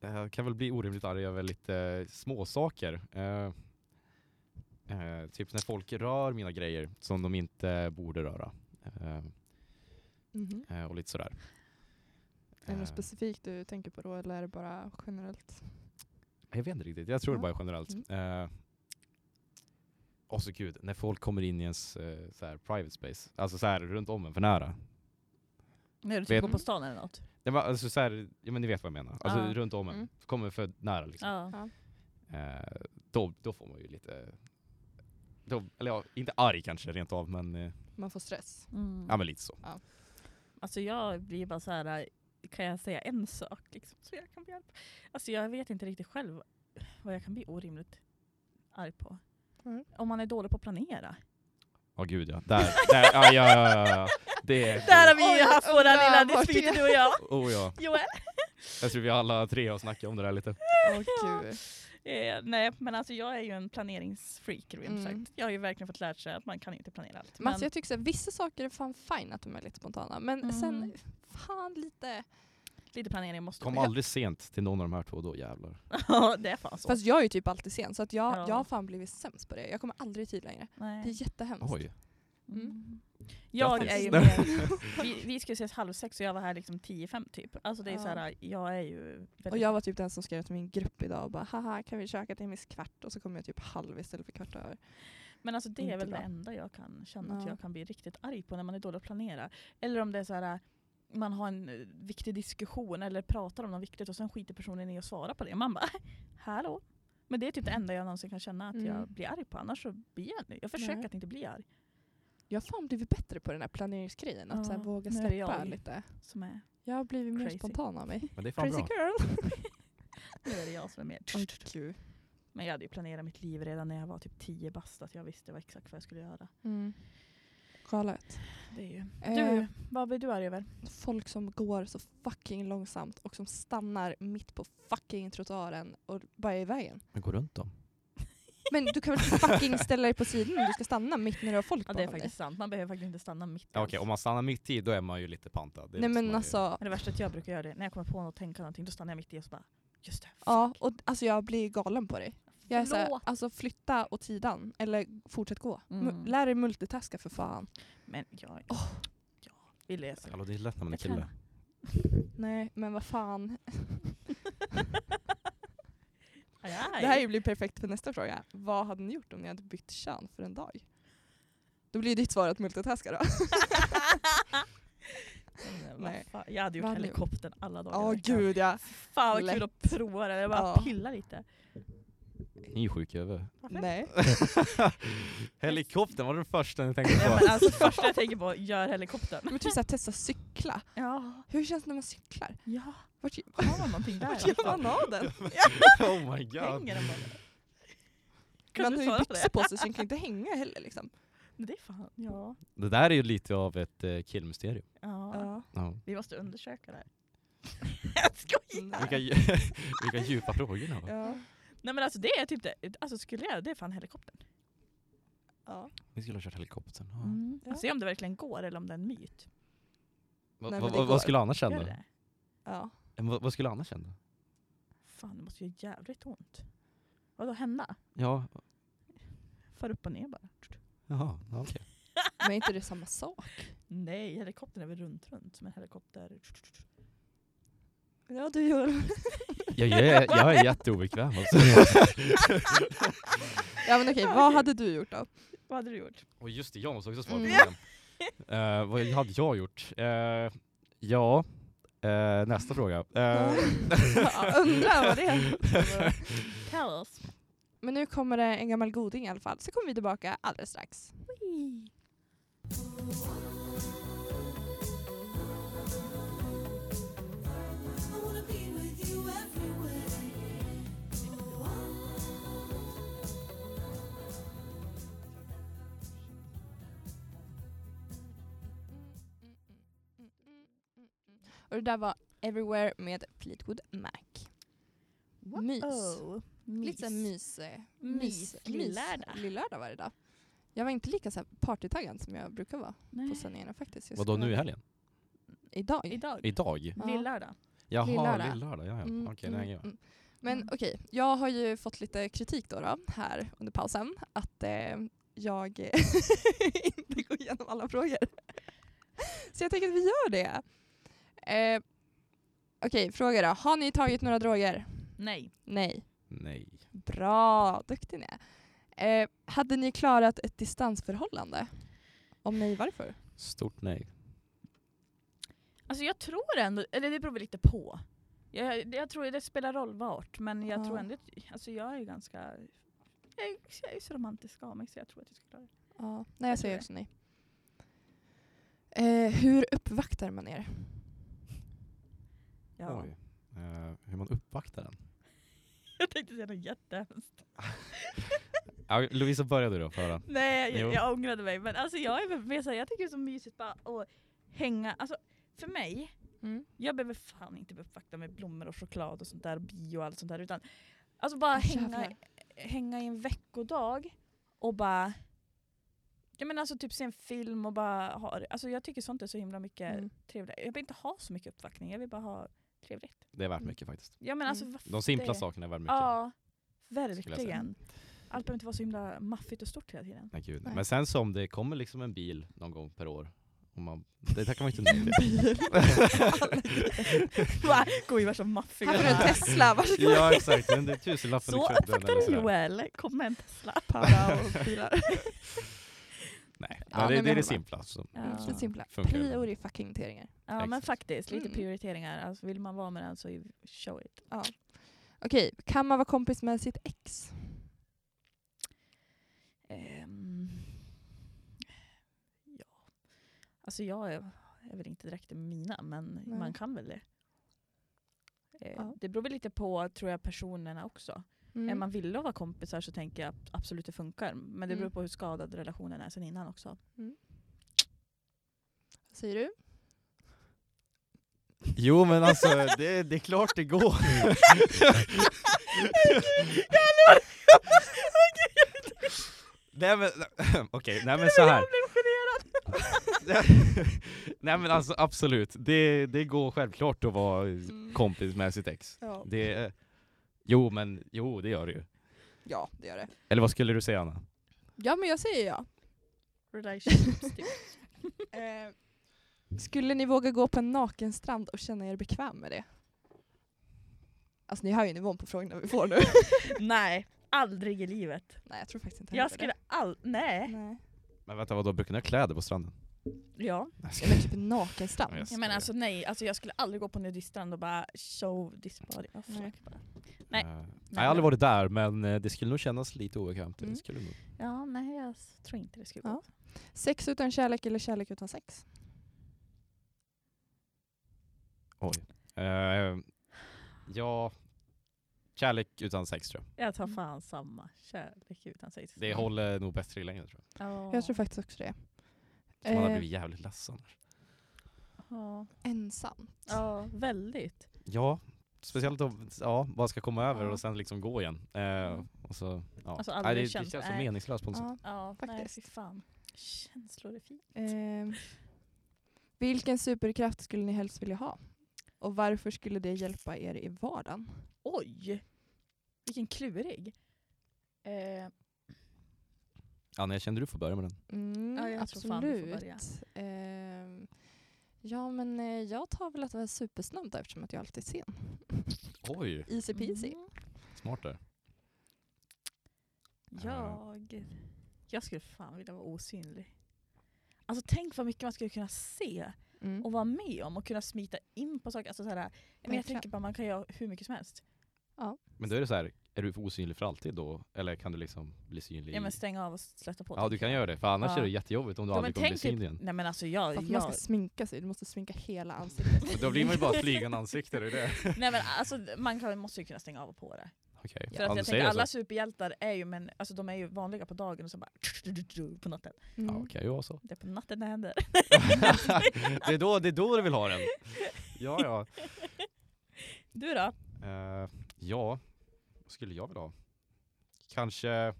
jag kan väl bli orimligt arg över lite småsaker. Eh, eh, typ när folk rör mina grejer som de inte borde röra. Eh, Mhm. eh, och lite sådär. Är det något Eh, specifikt du tänker på då eller är det bara generellt? Jag vet inte riktigt, jag tror Ja. det bara är generellt. Eh, och så gud, när folk kommer in i ens eh, såhär, private space, alltså såhär runt om en för nära. När du Vet- typ går på stan eller något. Det var alltså så här, ja men ni vet vad jag menar. Alltså Ja. runt om en. Mm. Kommer för nära liksom. Ja. Eh, då, då får man ju lite... Då, eller ja, inte arg kanske rent av men, eh, Man får stress. Mm. ja, men lite så. Alltså jag blir bara så här. kan jag säga en sak liksom, så jag kan bli arg på? Alltså jag vet inte riktigt själv vad jag kan bli orimligt arg på. Mm. Om man är dålig på att planera. Ja gud ja. Där, där, ja, ja, ja, ja, ja. Det är... Där har vi Oj, ju haft våra undrar lilla vart det är. dispyter du och <laughs> jag. Oh ja. Joel? Jag tror vi alla tre har snackat om det där lite. Åh gud. Eh, nej men alltså jag är ju en planeringsfreak rent Mm. sagt. Jag har ju verkligen fått lära sig att man kan inte planera allt. Men Men, alltså jag tycker så här, vissa saker är fan fine att de är lite spontana men Mm. sen fan lite. lite planering måste Kom man. aldrig sent till någon av de här två, då jävlar. <laughs> Ja det är fan så. Fast jag är ju typ alltid sen så att jag, Ja. jag har fan blivit sämst på det. Jag kommer aldrig i tid längre. Det är nej. jättehemskt. Oj. Mm. Jag Grattis. är ju <laughs> mer, vi, vi skulle ses halv sex och jag var här liksom tio i fem typ. Alltså det är Ja. så här, jag är ju väldigt... Och jag var typ den som skrev till min grupp idag och bara haha kan vi köka till miss kvart? Och så kom jag typ halv istället för kvart över. Men alltså det Inte är väl bra. det enda jag kan känna att Ja. jag kan bli riktigt arg på när man är dålig att planera. Eller om det är så här man har en eh, viktig diskussion eller pratar om något viktigt och sen skiter personen i att svara på det. Man bara <laughs> hallå. Men det är typ det enda jag någonsin kan känna att jag Mm. blir arg på. Annars så blir jag Jag försöker Nej. att inte bli arg. Jag har fan blivit bättre på den här planeringsgrejen, att Ja, så här, våga nu är det släppa jag. lite. Som är, Jag har blivit mer Crazy. spontan <laughs> av mig. Men det är fan Crazy bra. girl! <laughs> nu är det jag som är mer... Åh, gud. Men jag hade ju planerat mitt liv redan när jag var typ 10 bast att jag visste vad exakt vad jag skulle göra. Mm. Galet. Det är ju. Eh, Du, vad blir du arg över? folk som går så fucking långsamt och som stannar mitt på fucking trottoaren och bara är i vägen. Men gå runt dem. Men du <laughs> kan <laughs> väl fucking ställa dig på sidan om du ska stanna mitt när du har folk Ja det är bakom faktiskt sant, man behöver faktiskt inte stanna mitt Ja, Okej, alls. om man stannar mitt i då är man ju lite pantad. dig. Det Nej måste man men ju- alltså, Men det värsta är att jag brukar göra det, när jag kommer på något och tänka någonting, då stannar jag mitt i och så bara just det, fuck. ja, och, alltså jag blir galen på dig. Jag är såhär, Förlåt. alltså flytta åt sidan eller fortsätt gå. Mu- Mm. Lär dig multitaska för fan. Men jag, Åh. ja, vi löser det. Hallå, det är lätt när man är Jag kille. Nej men vad fan. Aj, Det här blir perfekt för nästa fråga. Vad hade ni gjort om ni hade bytt kön för en dag? Då blir ditt svar att multitaska då. Men vad Nej. fan, Jag hade gjort Vad hade ni gjort? helikoptern alla dagar. i Ja veckan. gud ja. Fan vad Lätt. kul att prova det, jag bara Ja. pilla lite. Ni är sjuka över. Varför? Nej. <laughs> Helikoptern var det första ni tänkte Nej, på. men alltså <laughs> första jag tänker på, gör helikoptern. Men typ såhär testa cykla. Ja, Hur känns det när man cyklar? ja. Vart, har man någonting där? <laughs> vart gör man av den? <laughs> oh my god. Hänger den bara där? Kan Man du har ju svara på byxor det? på sig så den kan inte hänga heller liksom. Det är fan, ja. Det där är ju lite av ett eh, killmysterium. ja. <laughs> Ja. Ja. Vi måste undersöka det här. jag skojar! Vilka, dju- <laughs> vilka djupa frågor ni har. Mm. Ja. Nej men alltså det är typ det, alltså skulle jag, det är fan helikoptern. Ja. Ni skulle ha kört helikoptern. Ja. Mm. Ja. Se om det verkligen går eller om det är en myt. Va- Nej, va- men det går. va- vad skulle Anna känna? Gör det? ja. Men vad- vad skulle Anna känna? Fan det måste ju göra jävligt ont. Vadå hända? Ja, Far upp och ner bara. jaha, ja, okej. <laughs> Men är inte det samma sak? Nej, helikoptern är väl runt runt som en helikopter. Ja du gör Jag, jag, är- jag är jätteobekväm alltså. <laughs> Ja men okej, vad hade du gjort då? <laughs> Vad hade du gjort? Och just det, jag måste också svara på Mm. frågan. <laughs> Eh, vad hade jag gjort? Eh, ja, eh, nästa fråga. Eh, <laughs> Ja, Undrar vad det är. Tell us. Men nu kommer det en gammal goding i alla fall, så kommer vi tillbaka alldeles strax. I wanna be with you everywhere. Och det där var Everywhere med Fleetwood Mac. Mys. Oh, mys. Lite såhär mys... eh, Mys. Lillördag. Lillördag var det idag. Jag var inte lika så här partytaggad som jag brukar vara på Nej. sändningarna faktiskt. Jag Vadå skulle- nu i helgen? Idag. Idag. Idag? Ja. Lillördag. Jaha, Lillördag. lillördag. Ja, ja. Mm, Okej, nu mm, hänger jag med. mm. Men Mm. okej, jag har ju fått lite kritik då, då här under pausen att eh, jag <laughs> inte går igenom alla frågor. Så jag tänker att vi gör det. Eh, okej, fråga då. Har ni tagit några droger? Nej. Nej. Nej. Bra, duktig ni är. Eh, hade ni klarat ett distansförhållande? Om nej, varför? Stort nej. Alltså jag tror ändå, eller det beror väl lite på. Jag, jag tror det spelar roll vart, men jag Ja. tror ändå, att- alltså jag är ju ganska, jag är, jag är ju så romantisk av mig så jag tror att jag skulle klara det. Ja, nej, jag tror säger det. också nej. Eh, hur uppvaktar man er? Ja. Oj. Eh, hur man uppvaktar den. <laughs> Jag tänkte säga något jättehemskt. <laughs> Ja, Lovisa började då, för att höra. Nej Jo. jag, jag ångrade mig, men alltså jag är väl mer såhär, jag tycker det är så mysigt bara att hänga, alltså för mig, jag behöver fan inte bli uppvaktad med blommor och choklad och sånt där, och bio och allt sånt där, utan alltså bara Ah, hänga, jävlar. hänga i en veckodag och bara jag menar alltså typ se en film och bara ha det. Alltså jag tycker sånt är så himla mycket Mm. trevligt. Jag vill inte ha så mycket uppvaktning, jag vill bara ha trevligt. Det är värt mycket faktiskt. Ja men alltså Mm. vad De simpla det- sakerna är värt mycket. Ja, säga. verkligen. allt behöver inte vara så himla maffigt och stort hela tiden. Nej, gud. Nej. Men sen som det kommer liksom en bil någon gång per år. Och man, det tackar man inte nej till. <laughs> Va? Går ju värsta maffiga. Här får du en Tesla, varsågod. Ja exakt, men det är tusenlappen Så i kudden eller fattar du sådär. Joel, kom med en <laughs> Tesla. Para och bilar. <laughs> Nej, Ja, men nej, men det, det är jag det håller simpla. alltså. som- Ja. Mm, Så simpla. Funkar. Priori fucking teringar. Ja men Exakt. faktiskt, lite Mm. prioriteringar. Alltså, vill man vara med den så ju- show it. Okej, kan man vara kompis med sitt ex? Ehm, ja. Alltså jag är, är väl inte direkt mina, men Nej. man kan väl det. Eh, Ja. Mm. Det beror väl lite på tror jag, personerna också. Är man villig att vara kompisar så tänker jag ab- absolut det funkar. Men det beror Mm. på hur skadad relationen är sen innan också. Vad säger du? Jo men alltså, det, det är klart <laughs> det går. <laughs> Nej men, <laughs> okej, nej men så här. Jag blev generad! <laughs> Nej men alltså absolut, det, det går självklart att vara kompis med sitt ex. Ja. Det, jo men, jo det gör det ju. ja, det gör det. Eller vad skulle du säga Anna? Ja, men jag säger ja. Relationships <laughs> typ. Eh, Skulle ni våga gå på en nakenstrand och känna er bekväm med det? Alltså ni hör ju nivån på frågorna <laughs> vi får nu. <laughs> Nej, aldrig i livet. nej, jag tror faktiskt inte Jag heller skulle det. all... Nej. Nej. Men vänta vadå, brukar ni ha kläder på stranden? Ja. Nej, Ja, men typ en nakenstrand. Ja, jag Jag skojar. menar alltså nej, alltså, jag skulle aldrig gå på nudiststrand och bara show this body. Oh, Nej. fuck. Nej. Eh, jag har aldrig varit där men eh, det skulle nog kännas lite obekvämt. Det Mm. skulle nog. Ja, nej jag s- tror inte det skulle gå. Ja. Sex utan kärlek eller kärlek utan sex? Eh, ja, kärlek utan sex tror jag. Jag tar fan samma kärlek utan sig. Det håller nog bättre i längden tror jag. Ja. Jag tror faktiskt också det. För Man har Eh, blivit jävligt less annars. Ja. Ensamt. ja, väldigt. Ja, speciellt om, ja, bara ska komma över Ja. och sen liksom gå igen. Eh, Mm. och så, ja. Alltså, Nej, aldrig det, det känt- känns så nej. meningslöst på något sätt. Ja. Ja, nej Faktiskt. fy fan. Känslor är fint. Eh, vilken superkraft skulle ni helst vilja ha? Och varför skulle det hjälpa er i vardagen? Oj! Vilken klurig. Eh, Anna, jag kände du får börja med den. Mm, Ja, jag tror fan du får absolut. Ehm, ja, men eh, jag tar väl att vara supersnabb då, eftersom att jag alltid är sen. Oj, Easy peasy. mm. smart där. Jag, jag skulle fan vilja vara osynlig. Alltså tänk vad mycket man skulle kunna se Mm. och vara med om och kunna smita in på saker. Alltså, så här, jag, men Verkligen. jag tänker bara man kan göra hur mycket som helst. Men då är det så här, är du osynlig för alltid då? Eller kan du liksom bli synlig? Ja, men i- stänga av och släppa på. ja du kan göra det, för annars Ja. är det jättejobbigt om du Ja, men aldrig kommer bli tänk typ- synlig igen. Nej men alltså jag... För att man ska jag Mm. sminka sig, du måste sminka hela ansiktet. Och Då blir man ju bara ett flygande ansikte, det är det. nej men alltså man kan, måste ju kunna stänga av och på det. <laughs> Okej, För att du jag säger tänker det alla så. superhjältar är ju, men, alltså, de är ju vanliga på dagen och så bara <laughs> på natten. Ja, Mm. det kan ju <laughs> vara så. <laughs> Det är på natten det händer. det, är då, det är då du <laughs> vill ha den. Ja, ja. Du då? Eh, ja, vad skulle jag vilja ha? Kanske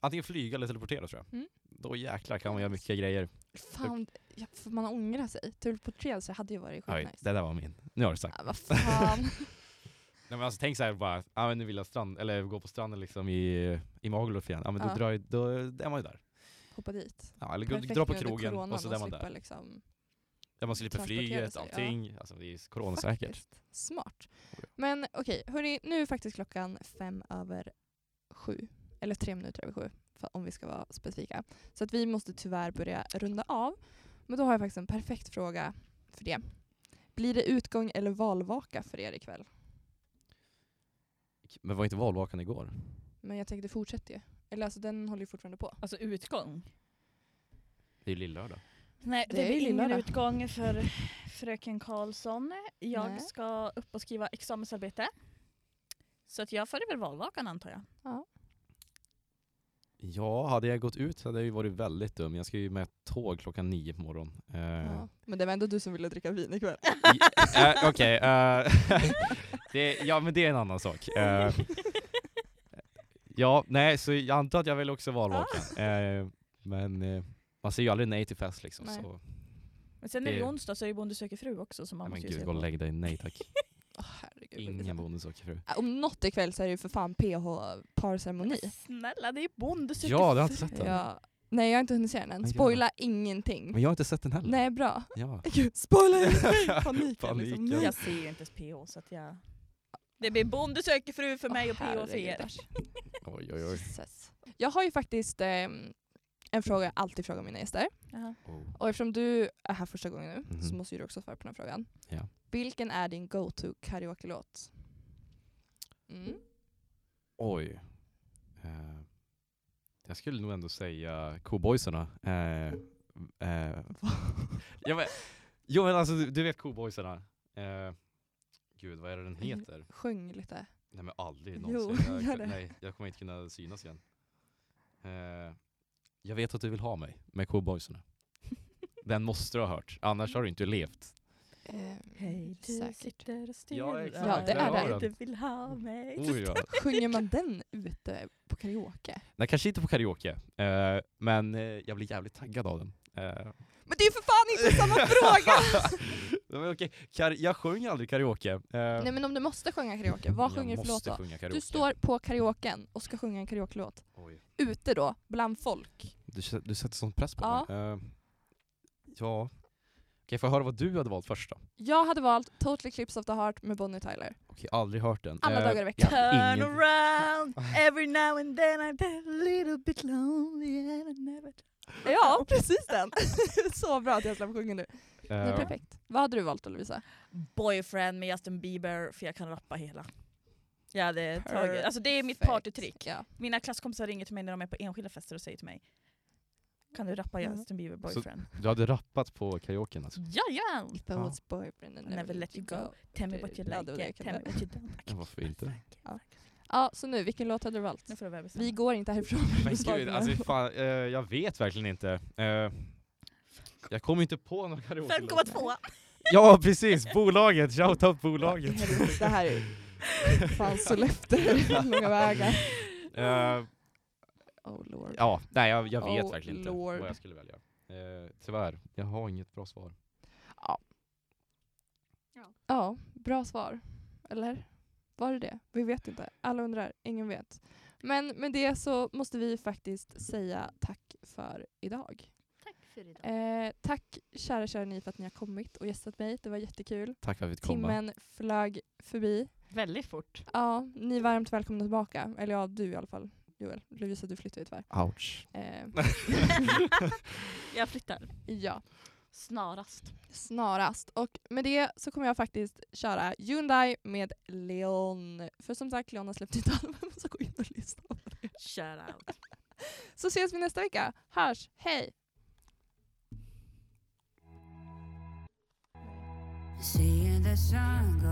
antingen flyga eller teleportera tror jag. Mm. Då jäklar kan man göra mycket grejer. Fan, ja, för man ångrar sig. Typ Teleporterelse hade ju varit Oj, skitnice. det där var min. Nu har du sagt. Ja, vad fan. <laughs> Nej, men alltså, tänk så här bara, ah, men nu vill jag strand, eller gå på stranden liksom i, i Magaluf igen. Ja, men då, Ja. drar, ju- då är man ju där. Hoppa dit. Ja, eller gå- Perfekt dra på nu under krogen coronan och så är man slippa där. Liksom, Där man slipper transportera flyget, sig, ja. allting. Alltså, det är coronasäkert. Faktiskt. Smart. ja. Men okej, hörni, nu är faktiskt klockan fem över sju. Eller tre minuter över sju, för- om vi ska vara specifika. Så att vi måste tyvärr börja runda av. Men då har jag faktiskt en perfekt fråga för det. Blir det utgång eller valvaka för er ikväll? Men var inte valvakan igår? Men jag tänker det fortsätter ju. Eller alltså den håller ju fortfarande på. Alltså utgång? Det är ju lillördag. Nej Det det, är ju blir ingen lillördag. utgång för fröken Karlsson. Jag Nej. ska upp och skriva examensarbete. Så att jag följer väl valvakan antar jag. Ja, hade jag gått ut så hade jag ju varit väldigt dum. Jag ska ju med ett tåg klockan nio på morgonen. Eh, Ja. Men det var ändå du som ville dricka vin ikväll. i- eh, Okej, eh, <laughs> det- ja men det är en annan sak. Eh, ja, nej så jag antar att jag vill också valvakan. Eh, men eh, man säger ju aldrig nej till fest liksom. Nej. Så, Men sen är det Det- ju onsdag så är det Bonde söker fru också som man nej, men måste ju gud, se gå och på. lägg dig. Nej tack. Åh, herregud. Ingen vilket- bonde söker fru. Om något ikväll så är det ju för fan PH-parceremoni. Men Snälla det är Bonde söker Ja, det har jag fru. inte sett den. Ja. Nej jag har inte hunnit se den än. Men gud. Spoila ingenting. Men jag har inte sett den heller. Nej bra. Ja. <laughs> <laughs> Gud, <laughs> spoila ingenting! Paniken. Paniken. Liksom. Nej. Jag ser ju inte ens PH så att jag... Det blir Bonde söker fru för mig och Åh, PH för er. herregudars. Oj, <laughs> oj, oj. Jesus. Jag har ju faktiskt ehm, en fråga jag alltid frågar mina gäster. Jaha. Oh. Och eftersom du är här första gången nu så Mhm. måste ju du också svara på den här frågan. Ja. Vilken är din go-to karaoke-låt? Oh. Mm. Oj. Eh, jag skulle nog ändå säga cowboysarna. Eh, eh, jag vet, jo men alltså du, du vet cowboysarna. Eh, gud vad är det den heter? Sjung lite. Nej men aldrig Mm. Jo, <laughs> någonsin. jag, gör kan- det. Nej, jag kommer inte kunna synas igen. Eh, jag vet att du vill ha mig med cowboysarna. <laughs> Den måste du ha hört, annars har du inte levt. Hej du Ehm, säkert. sitter och stirrar. Ja, exakt. Ja, det är där den. Du vill ha mig. Oj, ja. Sjunger man den ute på karaoke? Nej kanske inte på karaoke, eh, men eh, jag blir jävligt taggad av den. Eh, Men det är ju för fan <laughs> inte samma <laughs> fråga! Nej, men okej. Kar- jag sjunger aldrig karaoke. Eh, Nej men om du måste sjunga karaoke, vad sjunger du för låt då? sjunga karaoke. Du står på karaoken och ska sjunga en karaoke-låt. Oj. Ute då, bland folk. Du, s- du sätter sån press på Ja. mig. Eh, ja. Okej, får jag höra vad du hade valt först då? Jag hade valt Total Eclipse of the Heart med Bonnie Tyler. Okej, aldrig hört den. Alla Eh, dagar i veckan. Turn ingen- Ah. around every now and then I get a little bit lonely and I never... <laughs> Ja, precis den! Så bra att jag slapp sjunga nu. Det är eh, perfekt. Vad hade du valt då Lovisa? Boyfriend med Justin Bieber för jag kan rappa hela. Jag hade tagit, Perfect. alltså det är mitt partytrick. Ja. Mina klasskompisar ringer till mig när de är på enskilda fester och säger till mig Kan du rappa Mm. Justin Bieber Boyfriend? Du hade rappat på karaoken alltså? Jajamän! If I Ja. was boyfriend I never, let you go. Tell me what you Ja, det var like, det jag it. tell me kunde. what you don't like. Ja, varför inte? Ja. Ja, så nu, vilken låt hade du valt? Nu får du väl bestämma. Vi går inte härifrån. Men <laughs> gud, alltså fan, eh, jag vet verkligen inte. Eh, jag kommer inte på någon karaoke 5,2! Ja precis, bolaget! Shoutout bolaget! Helvete, det här är ju fan Sollefteå långa vägar. Eh, Oh lord. Ja, nej jag, jag vet Oh, verkligen inte Lord. vad jag skulle välja. Eh, tyvärr, jag har inget bra svar. Ja, bra svar. Eller? Var det det? Vi vet inte. Alla undrar, ingen vet. Men med det så måste vi faktiskt säga tack för idag. Tack för idag. Eh, tack kära, kära ni för att ni har kommit och gästat mig. Det var jättekul. Tack för att vi fick komma. Timmen flög förbi. Väldigt fort. Ja, ni är varmt välkomna tillbaka. Eller ja, du i alla fall. Joel. Lovisa, du flyttar ju tyvärr. <laughs> Ouch. Eh, Jag flyttar. ja, Snarast. snarast. Och med det så kommer jag faktiskt köra Hyundai med Leon. För som sagt, Leon har släppt ett <laughs> album, så gå in och lyssna. Shout out. Så ses vi nästa vecka. Hörs. Hej! Seeing the sun